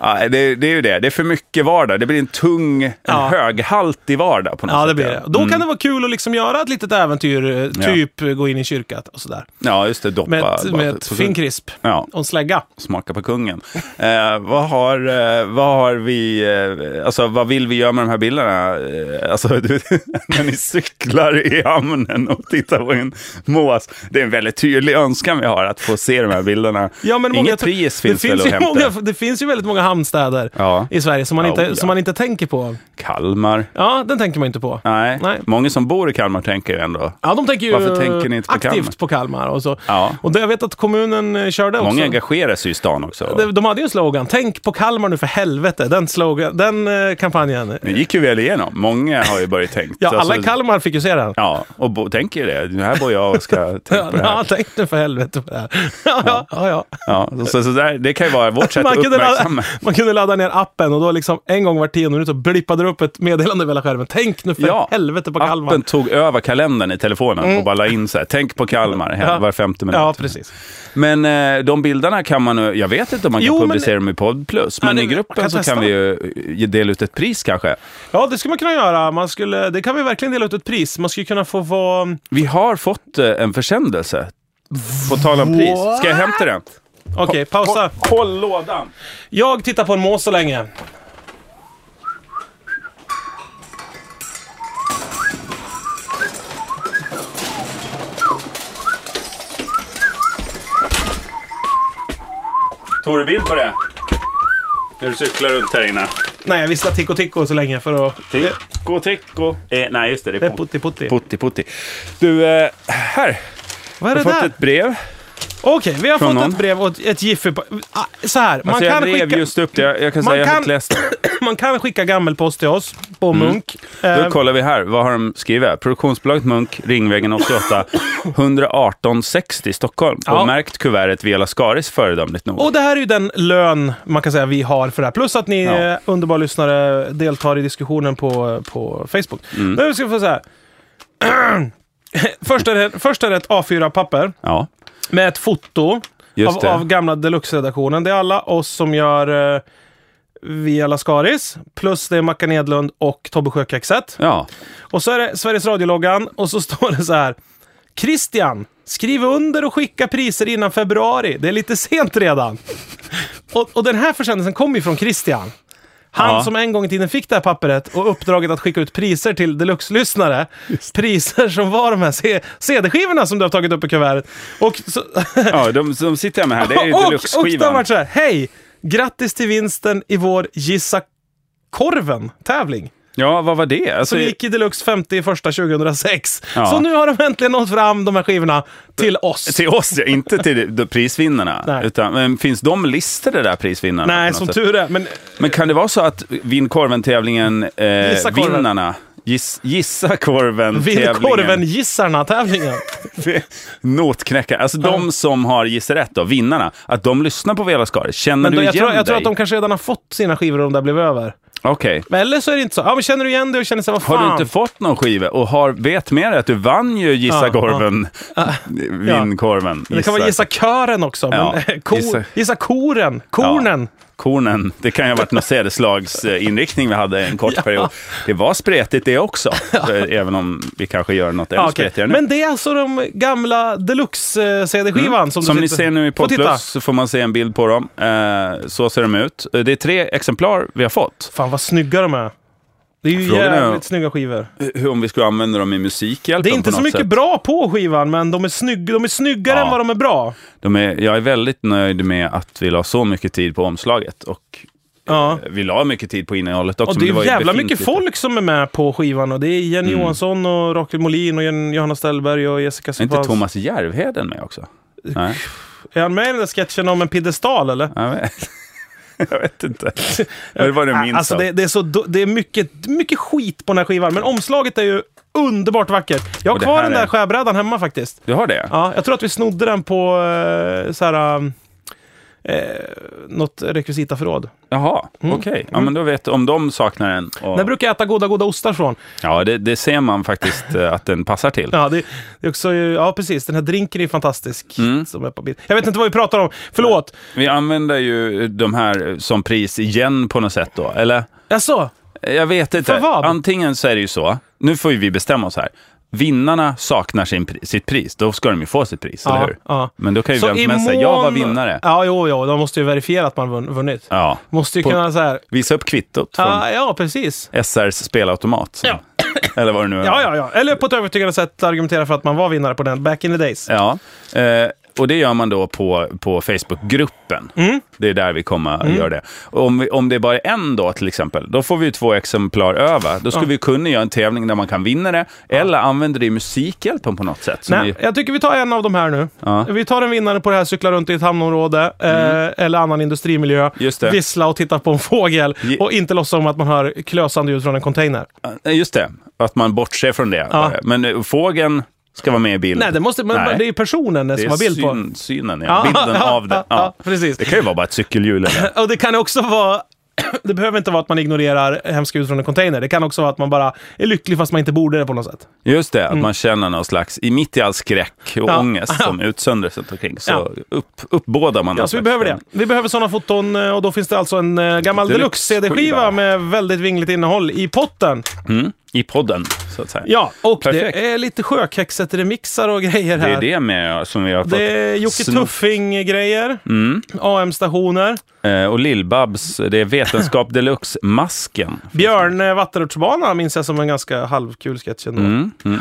[SPEAKER 1] Ja, det, är- det är ju det. Det är för mycket vardag. Det blir en tung, en
[SPEAKER 2] Ja.
[SPEAKER 1] höghaltig vardag på något
[SPEAKER 2] Ja, det
[SPEAKER 1] sätt.
[SPEAKER 2] blir det. Då
[SPEAKER 1] Mm.
[SPEAKER 2] kan det vara kul att liksom göra ett litet äventyr, eh, typ eh, gå in i kyrkan och sådär.
[SPEAKER 1] Ja, just det. Doppa.
[SPEAKER 2] Med, ett-
[SPEAKER 1] bara
[SPEAKER 2] med
[SPEAKER 1] på-
[SPEAKER 2] ett
[SPEAKER 1] på-
[SPEAKER 2] finkrisp
[SPEAKER 1] Ja,
[SPEAKER 2] och en slägga.
[SPEAKER 1] smaka på kungen. Eh, vad, har, eh, vad vad har vi, eh, alltså vad vill vi göra med de här bilderna? Eh, Alltså, du, när ni cyklar i hamnen och tittar på en mås. Det är en väldigt tydlig önskan vi har, att få se de här bilderna.
[SPEAKER 2] Ja, men många-
[SPEAKER 1] Inget pris finns
[SPEAKER 2] det
[SPEAKER 1] väl
[SPEAKER 2] finns
[SPEAKER 1] att
[SPEAKER 2] ju
[SPEAKER 1] hämta?
[SPEAKER 2] många, Det finns ju väldigt många hamnstäder
[SPEAKER 1] Ja.
[SPEAKER 2] i Sverige som man,
[SPEAKER 1] Ja,
[SPEAKER 2] inte,
[SPEAKER 1] oh, ja.
[SPEAKER 2] som man inte tänker på.
[SPEAKER 1] Kalmar?
[SPEAKER 2] Ja, den tänker man inte på.
[SPEAKER 1] Nej.
[SPEAKER 2] Nej.
[SPEAKER 1] många som bor i Kalmar tänker ju ändå.
[SPEAKER 2] Ja, de tänker ju
[SPEAKER 1] Varför tänker ni inte på
[SPEAKER 2] aktivt
[SPEAKER 1] Kalmar?
[SPEAKER 2] på Kalmar och så.
[SPEAKER 1] Ja.
[SPEAKER 2] Och det, jag vet att kommunen eh, körde också.
[SPEAKER 1] Många engagerar sig i stan också.
[SPEAKER 2] De- De hade ju en slogan, tänk på Kalmar nu för helvete. Den, slogan, den eh, kampanjen.
[SPEAKER 1] Det gick ju väl igenom. Många har ju börjat tänkt.
[SPEAKER 2] Ja, alla i
[SPEAKER 1] Alltså,
[SPEAKER 2] Kalmar fick ju se den.
[SPEAKER 1] Ja, och bo, tänker ju det. Nu här bor jag och ska tänka på det
[SPEAKER 2] Ja,
[SPEAKER 1] här.
[SPEAKER 2] tänk nu för helvete på det här. Ja, ja, ja. ja.
[SPEAKER 1] Ja, så, så där, det kan ju vara vårt sätt
[SPEAKER 2] Man
[SPEAKER 1] att
[SPEAKER 2] kunde, ladda,
[SPEAKER 1] uppmärksamma.
[SPEAKER 2] man kunde ladda ner appen och då liksom en gång var tionde minut så blippade det upp ett meddelande över hela skärmen. Tänk nu för helvete på Kalmar. Mm.
[SPEAKER 1] Appen tog över kalendern i telefonen och bara la in så här, tänk på Kalmar här,
[SPEAKER 2] Ja.
[SPEAKER 1] var femte minut.
[SPEAKER 2] Ja, precis.
[SPEAKER 1] Men eh, de bilderna kan man ju, jag vet inte om man kan
[SPEAKER 2] Jo, men-
[SPEAKER 1] publicera dem i Podd Plus, men
[SPEAKER 2] det-
[SPEAKER 1] i gruppen
[SPEAKER 2] man kan
[SPEAKER 1] så
[SPEAKER 2] testa
[SPEAKER 1] kan vi ju eh, ge- dela ut ett pris kanske.
[SPEAKER 2] Ja, det skulle man kunna göra. Man skulle, det kan vi verkligen dela ut ett pris. Man skulle kunna få vara...
[SPEAKER 1] Vi har fått eh, en försändelse. På tal om pris, ska jag hämta den?
[SPEAKER 2] Okej, pausa.
[SPEAKER 1] Håll lådan!
[SPEAKER 2] Jag tittar på en mås så länge.
[SPEAKER 1] Tog du bild på det? När du cyklar runt här inne.
[SPEAKER 2] Nej, jag visslar Tico Tico så länge för att...
[SPEAKER 1] Ticko, ticko. Eh, nej, just det. Det
[SPEAKER 2] Det
[SPEAKER 1] är
[SPEAKER 2] är putti putti.
[SPEAKER 1] Putti, putti. Du, eh, här.
[SPEAKER 2] Vad är
[SPEAKER 1] Jag
[SPEAKER 2] det
[SPEAKER 1] har fått
[SPEAKER 2] där?
[SPEAKER 1] ett brev. Alltså,
[SPEAKER 2] Okej, vi har fått
[SPEAKER 1] Från någon.
[SPEAKER 2] ett brev och ett- ett jiffy. på- Ah, Så här, man
[SPEAKER 1] Alltså, jag
[SPEAKER 2] kan
[SPEAKER 1] rev
[SPEAKER 2] skicka...
[SPEAKER 1] just upp det. Jag, jag kan
[SPEAKER 2] Man
[SPEAKER 1] säga, jag har
[SPEAKER 2] kan-
[SPEAKER 1] inte läst det.
[SPEAKER 2] Man kan skicka gammelpost till oss på Munk.
[SPEAKER 1] Mm. Då
[SPEAKER 2] Eh,
[SPEAKER 1] kollar vi här. Vad har de skrivit? Produktionsbolaget Munk, Ringvägen 88, 11860 Stockholm.
[SPEAKER 2] Ja.
[SPEAKER 1] Och märkt kuvertet Viola Skaris föredömligt nog.
[SPEAKER 2] och det här är ju den lön man kan säga vi har för det här. Plus att ni
[SPEAKER 1] Ja.
[SPEAKER 2] eh, underbara lyssnare deltar i diskussionen på, på Facebook.
[SPEAKER 1] Mm.
[SPEAKER 2] Nu ska vi få så här. först, är det, först är det ett A4-papper
[SPEAKER 1] Ja,
[SPEAKER 2] med ett foto
[SPEAKER 1] just
[SPEAKER 2] av,
[SPEAKER 1] det.
[SPEAKER 2] av gamla Deluxe-redaktionen. Det är alla oss som gör eh, Via Lascaris, plus det är Mackan Edlund och Tobbe Sjökaxet.
[SPEAKER 1] Ja,
[SPEAKER 2] Och så är det Sveriges Radio-loggan och så står det så här. Christian, skriv under och skicka priser innan februari. Det är lite sent redan. Och, och den här försändelsen kommer ju från Christian. Han
[SPEAKER 1] Ja.
[SPEAKER 2] som en gång i tiden fick det här pappret och uppdraget att skicka ut priser till deluxe-lyssnare. Priser som var de här C- CD-skivorna som du har tagit upp i kuvertet. Och, så,
[SPEAKER 1] ja de, de sitter jag med här. Det är ju
[SPEAKER 2] och, och det har
[SPEAKER 1] Deluxe-skivan.
[SPEAKER 2] varit så här, hej! Grattis till vinsten i vår Gissa Korven-tävling
[SPEAKER 1] Ja, vad var det? Alltså,
[SPEAKER 2] som gick i Deluxe 50 i första 2006.
[SPEAKER 1] Ja.
[SPEAKER 2] Så nu har de äntligen nått fram de här skivorna till oss.
[SPEAKER 1] Till oss, ja. inte till de prisvinnarna.
[SPEAKER 2] Nej.
[SPEAKER 1] Utan, men finns de listade där, prisvinnarna? på
[SPEAKER 2] Nej,
[SPEAKER 1] något
[SPEAKER 2] som
[SPEAKER 1] sätt?
[SPEAKER 2] tur är. Men
[SPEAKER 1] Men kan det vara så att Vinn korven-tävlingen, eh,
[SPEAKER 2] Gissa korven.
[SPEAKER 1] vinnarna, giss, gissa korven-tävlingen,
[SPEAKER 2] Villkorven-gissarna-tävlingen.
[SPEAKER 1] notknäckarna, alltså de som har gissat rätt då, vinnarna, att de lyssnar på Vela Skaris. Känner
[SPEAKER 2] Men
[SPEAKER 1] du
[SPEAKER 2] då,
[SPEAKER 1] igen
[SPEAKER 2] jag, tror,
[SPEAKER 1] dig?
[SPEAKER 2] jag tror att de kanske redan har fått sina skivor om det blev över.
[SPEAKER 1] Okej.
[SPEAKER 2] Men Eller så är det inte så. Ja, men känner du igen det och känner sig, vad
[SPEAKER 1] Har
[SPEAKER 2] fan.
[SPEAKER 1] du inte fått någon skiva och har, vet med dig att du vann ju Gissa
[SPEAKER 2] Ja,
[SPEAKER 1] korven, Vinn korven.
[SPEAKER 2] det kan vara Gissa kören också. Men eh,
[SPEAKER 1] Ja,
[SPEAKER 2] ko,
[SPEAKER 1] gissa.
[SPEAKER 2] gissa. koren. Kornen.
[SPEAKER 1] Kornen, det kan ju ha varit någon sädeslags eh, inriktning vi hade en kort period. Det var spretigt det också, eh, även om vi kanske gör något ännu
[SPEAKER 2] Ja, okej.
[SPEAKER 1] spretigare nu.
[SPEAKER 2] Men det är alltså de gamla deluxe-CD-skivan som, du
[SPEAKER 1] Mm. Som ni
[SPEAKER 2] sitter-
[SPEAKER 1] ser nu i
[SPEAKER 2] Få
[SPEAKER 1] Podd
[SPEAKER 2] titta.
[SPEAKER 1] Plus så får man se en bild på dem. Eh, så ser de ut. Eh, Det är tre exemplar vi har fått.
[SPEAKER 2] Fan vad snygga de är. Det är ju
[SPEAKER 1] Frågan är-
[SPEAKER 2] jävligt snygga skivor.
[SPEAKER 1] Eh, Hur om vi skulle använda dem i Musikhjälpen
[SPEAKER 2] Det är
[SPEAKER 1] på
[SPEAKER 2] inte så
[SPEAKER 1] något
[SPEAKER 2] mycket
[SPEAKER 1] sätt.
[SPEAKER 2] bra på skivan, men de är, snygg, de är snyggare
[SPEAKER 1] Ja.
[SPEAKER 2] än vad de är bra.
[SPEAKER 1] De är, jag är väldigt nöjd med att vi la så mycket tid på omslaget. Och
[SPEAKER 2] Ja.
[SPEAKER 1] vi la mycket tid på innehållet också.
[SPEAKER 2] Och
[SPEAKER 1] men
[SPEAKER 2] det är
[SPEAKER 1] var ju
[SPEAKER 2] jävla
[SPEAKER 1] befintligt. Mm.
[SPEAKER 2] mycket folk som är med på skivan. Och det är Jenny Johansson, och Rakel Molin, och Jen- Johanna Ställberg och Jessica
[SPEAKER 1] Är inte
[SPEAKER 2] Sopaz.
[SPEAKER 1] Thomas Järvheden med också?
[SPEAKER 2] Eh,
[SPEAKER 1] Nej,
[SPEAKER 2] Är han med i den där sketchen om en piedestal, eller?
[SPEAKER 1] jag vet, jag vet inte. Det var det jag minns
[SPEAKER 2] Alltså,
[SPEAKER 1] av.
[SPEAKER 2] det, det är, så, do- det är mycket, mycket skit på den här skivan, men omslaget är ju underbart vackert. Jag har
[SPEAKER 1] Och det
[SPEAKER 2] kvar
[SPEAKER 1] här
[SPEAKER 2] den där
[SPEAKER 1] är-
[SPEAKER 2] skärbrädan hemma faktiskt.
[SPEAKER 1] Du har det?
[SPEAKER 2] Ja, jag tror att vi snodde den på eh, så här, eh, något rekvisitaförråd.
[SPEAKER 1] Jaha,
[SPEAKER 2] Mm.
[SPEAKER 1] okej. Ja, men då vet du om de saknar en. Och...
[SPEAKER 2] Den brukar jag äta goda, goda ostar från.
[SPEAKER 1] Ja, det, det ser man faktiskt eh, att den passar till.
[SPEAKER 2] Ja, det, det är också, ju- ja, precis. Den här drinken är ju fantastisk.
[SPEAKER 1] Mm.
[SPEAKER 2] Som är på bild. Jag vet inte vad vi pratar om. Förlåt!
[SPEAKER 1] Vi använder ju de här som pris igen på något sätt då, eller?
[SPEAKER 2] Jaså?
[SPEAKER 1] Jag vet inte.
[SPEAKER 2] För vad?
[SPEAKER 1] Antingen så är det ju så, nu får ju vi bestämma oss här, vinnarna saknar sin, pri- sitt pris, då ska de ju få sitt pris, eller
[SPEAKER 2] Ja,
[SPEAKER 1] hur?
[SPEAKER 2] ja.
[SPEAKER 1] Men då kan ju vem som helst säga,
[SPEAKER 2] imorgon-
[SPEAKER 1] jag var vinnare.
[SPEAKER 2] Ja, jo, jo, de måste ju verifiera att man vunn- vunnit.
[SPEAKER 1] Ja.
[SPEAKER 2] Måste ju
[SPEAKER 1] På-
[SPEAKER 2] kunna så här...
[SPEAKER 1] Visa upp kvittot från
[SPEAKER 2] Ja, ja, precis.
[SPEAKER 1] SRs spelautomat. som-
[SPEAKER 2] Ja.
[SPEAKER 1] Eller vad det nu är.
[SPEAKER 2] Ja, ja, ja. Eller på ett övertygande sätt argumentera för att man var vinnare på den back in the days.
[SPEAKER 1] Ja, eh, och det gör man då på, på Facebookgruppen.
[SPEAKER 2] Mm.
[SPEAKER 1] Det är där vi kommer att göra det. Och Om, vi, om det är bara är en då till exempel, då får vi ju två exemplar över. Då skulle vi kunna göra en tävling där man kan vinna det, eller använder det i Musikhjälpen på något sätt. som
[SPEAKER 2] Nej,
[SPEAKER 1] vi-
[SPEAKER 2] jag tycker vi tar en av de här nu.
[SPEAKER 1] Ja. Mm.
[SPEAKER 2] Vi tar en vinnare på det här, cykla runt i ett hamnområde eh, eller annan industrimiljö,
[SPEAKER 1] Just det.
[SPEAKER 2] vissla och titta på en fågel
[SPEAKER 1] Ge-
[SPEAKER 2] och inte låtsas som att man hör klösande ljud från en container.
[SPEAKER 1] Eh, Just det, att man bortser från det.
[SPEAKER 2] Ja.
[SPEAKER 1] bara. Men eh, fågeln ska vara med i bilden.
[SPEAKER 2] Nej, det, måste, men,
[SPEAKER 1] Nej.
[SPEAKER 2] det är ju personen det
[SPEAKER 1] Det
[SPEAKER 2] som
[SPEAKER 1] är
[SPEAKER 2] har bild på.
[SPEAKER 1] syn, synen, ja. bilden av det. Ja.
[SPEAKER 2] precis.
[SPEAKER 1] Det kan ju vara bara ett cykelhjul. Eller?
[SPEAKER 2] Och det kan också vara... Det behöver inte vara att man ignorerar hemska ljud från en container. Det kan också vara att man bara är lycklig fast man inte borde det på något sätt.
[SPEAKER 1] Just det, att man känner någon slags, i mitt i all skräck och
[SPEAKER 2] Mm. Ja.
[SPEAKER 1] ångest som utsöndras runt omkring, så
[SPEAKER 2] Ja.
[SPEAKER 1] upp, uppbådar man
[SPEAKER 2] Ja,
[SPEAKER 1] någon
[SPEAKER 2] så vi
[SPEAKER 1] slags
[SPEAKER 2] behöver det.
[SPEAKER 1] stämning.
[SPEAKER 2] Vi behöver sådana foton eh, och då finns det alltså en eh, gammal
[SPEAKER 1] Deluxe-skiva.
[SPEAKER 2] deluxe-CD-skiva med väldigt vingligt innehåll i potten.
[SPEAKER 1] Mm, I podden, så att säga.
[SPEAKER 2] Ja, och
[SPEAKER 1] Perfekt.
[SPEAKER 2] det är lite Sjökexet-remixar och grejer
[SPEAKER 1] Det
[SPEAKER 2] här.
[SPEAKER 1] är det med som vi har fått.
[SPEAKER 2] Det är Jocke
[SPEAKER 1] Sno-
[SPEAKER 2] Tuffing-grejer,
[SPEAKER 1] Mm.
[SPEAKER 2] AM-stationer,
[SPEAKER 1] Eh, och Lill-Babs, det är Vetenskap Deluxe-masken.
[SPEAKER 2] Björn eh, Vattenrutschbana minns jag som en ganska halvkul sketch ändå.
[SPEAKER 1] Mm, mm.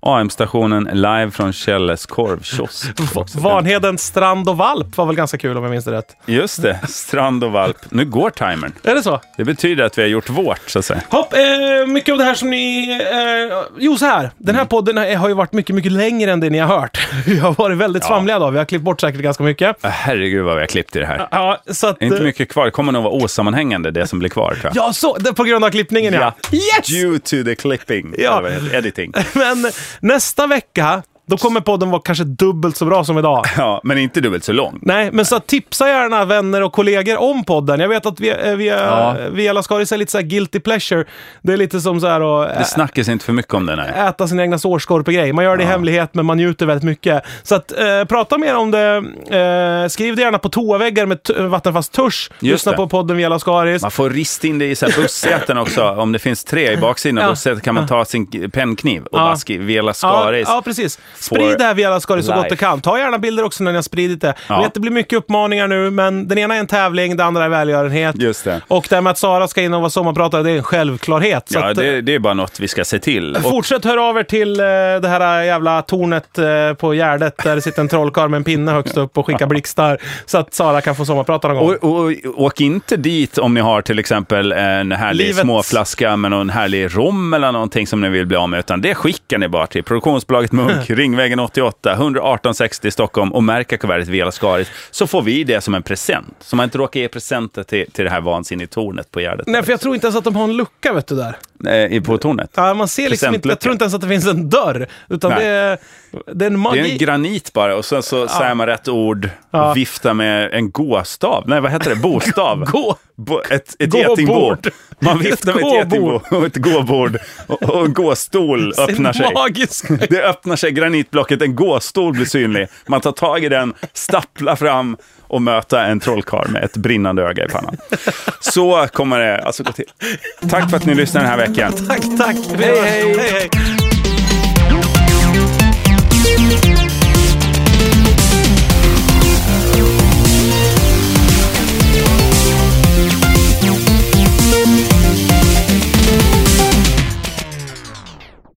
[SPEAKER 1] AM-stationen live från Kjelles korvkiosk. också.
[SPEAKER 2] Varnheden, Strand och Valp var väl ganska kul om jag minns det rätt.
[SPEAKER 1] Just det, Strand och Valp. Nu går timern.
[SPEAKER 2] Är det så?
[SPEAKER 1] Det betyder att vi har gjort vårt, så att säga.
[SPEAKER 2] Hopp, eh, mycket av det här som ni... Eh, jo, så här. Den
[SPEAKER 1] Mm.
[SPEAKER 2] här podden är- har ju varit mycket, mycket längre än det ni har hört. Vi har varit väldigt svamliga idag. Vi har klippt bort säkert ganska mycket.
[SPEAKER 1] Ah, Herregud vad vi har klippt i det här.
[SPEAKER 2] Ja, så att...
[SPEAKER 1] Det är inte
[SPEAKER 2] eh,
[SPEAKER 1] mycket kvar. Det kommer nog vara osammanhängande, det som blir kvar, tror jag.
[SPEAKER 2] Ja, så. Det, på grund av klippningen, ja. Yes!
[SPEAKER 1] Due to the clipping.
[SPEAKER 2] Ja.
[SPEAKER 1] Eller vad heter det? Editing.
[SPEAKER 2] Men nästa vecka, då kommer podden vara kanske dubbelt så bra som idag.
[SPEAKER 1] Ja, men inte dubbelt så lång.
[SPEAKER 2] Nej, men så att tipsa gärna vänner och kollegor om podden. Jag vet att vi, eh, vi, eh, vi Alaskaris är lite så här guilty pleasure. Det är lite som så här att
[SPEAKER 1] Det snackas inte för mycket om den här.
[SPEAKER 2] äta sina egna sårskorpor-grej. Man gör det i hemlighet, men man njuter väldigt mycket. Så att, eh, prata mer om det. Eh, skriv det gärna på toaväggar med t- vattenfast tusch. Lyssna
[SPEAKER 1] det.
[SPEAKER 2] på podden via Lascaris.
[SPEAKER 1] Man får rista in det i så här bussäten också. Om det finns tre i baksidan
[SPEAKER 2] Ja.
[SPEAKER 1] av bussätet kan man ta sin k- pennkniv och
[SPEAKER 2] Ja.
[SPEAKER 1] bara skriva vela
[SPEAKER 2] Ja,
[SPEAKER 1] skaris.
[SPEAKER 2] ja, precis. Sprid det här via Lascaris så gott
[SPEAKER 1] life.
[SPEAKER 2] du kan. Ta gärna bilder också när ni har spridit det. Jag
[SPEAKER 1] Ja.
[SPEAKER 2] vet, det blir mycket uppmaningar nu, men den ena är en tävling, den andra är välgörenhet.
[SPEAKER 1] Just det.
[SPEAKER 2] Och det här med att Sara ska in och vara sommarpratare, det är en självklarhet. Så
[SPEAKER 1] Ja,
[SPEAKER 2] att, eh,
[SPEAKER 1] det, det är bara något vi ska se till. Och
[SPEAKER 2] Fortsätt höra av er till eh, det här jävla tornet eh, på Gärdet där det sitter en trollkarl med en pinne högst upp och skickar blixtar så att Sara kan få sommarprata någon gång.
[SPEAKER 1] Och, och, och åk inte dit om ni har till exempel en härlig
[SPEAKER 2] Livet.
[SPEAKER 1] småflaska med någon härlig rom eller någonting som ni vill bli av med, utan det skickar ni bara till produktionsbolaget Munk, Ringvägen 88, 118 60 Stockholm och märka kuvertet Vela Skaris, så får vi det som en present. Så man inte råkar ge presenter till, till det här vansinniga tornet på Gärdet.
[SPEAKER 2] Nej, för jag tror inte ens att de har en lucka vet du där.
[SPEAKER 1] Eh, i- på tornet.
[SPEAKER 2] Ja, man ser liksom inte, jag
[SPEAKER 1] Presentlucka.
[SPEAKER 2] tror inte ens att det finns en dörr. Utan
[SPEAKER 1] Nej.
[SPEAKER 2] det är, det är en
[SPEAKER 1] Det
[SPEAKER 2] magi.
[SPEAKER 1] är en granit bara och sen så säger man rätt ord
[SPEAKER 2] Ja.
[SPEAKER 1] och viftar med en gåstav. Nej, vad heter det? Bostav.
[SPEAKER 2] Gå!
[SPEAKER 1] Bo, ett ett
[SPEAKER 2] Gåbord.
[SPEAKER 1] getingbord. Man viftar med ett
[SPEAKER 2] Ett gåbord.
[SPEAKER 1] getingbord och ett gåbord och, och en gåstol öppnar sig.
[SPEAKER 2] Magisk.
[SPEAKER 1] Det öppnar sig, granitblocket, en gåstol blir synlig. Man tar tag i den, stapplar fram och möter en trollkarl med ett brinnande öga i pannan. Så kommer det alltså gå till. Tack för att ni lyssnade den här veckan.
[SPEAKER 2] Tack, tack.
[SPEAKER 1] Hej, hej.
[SPEAKER 2] hej.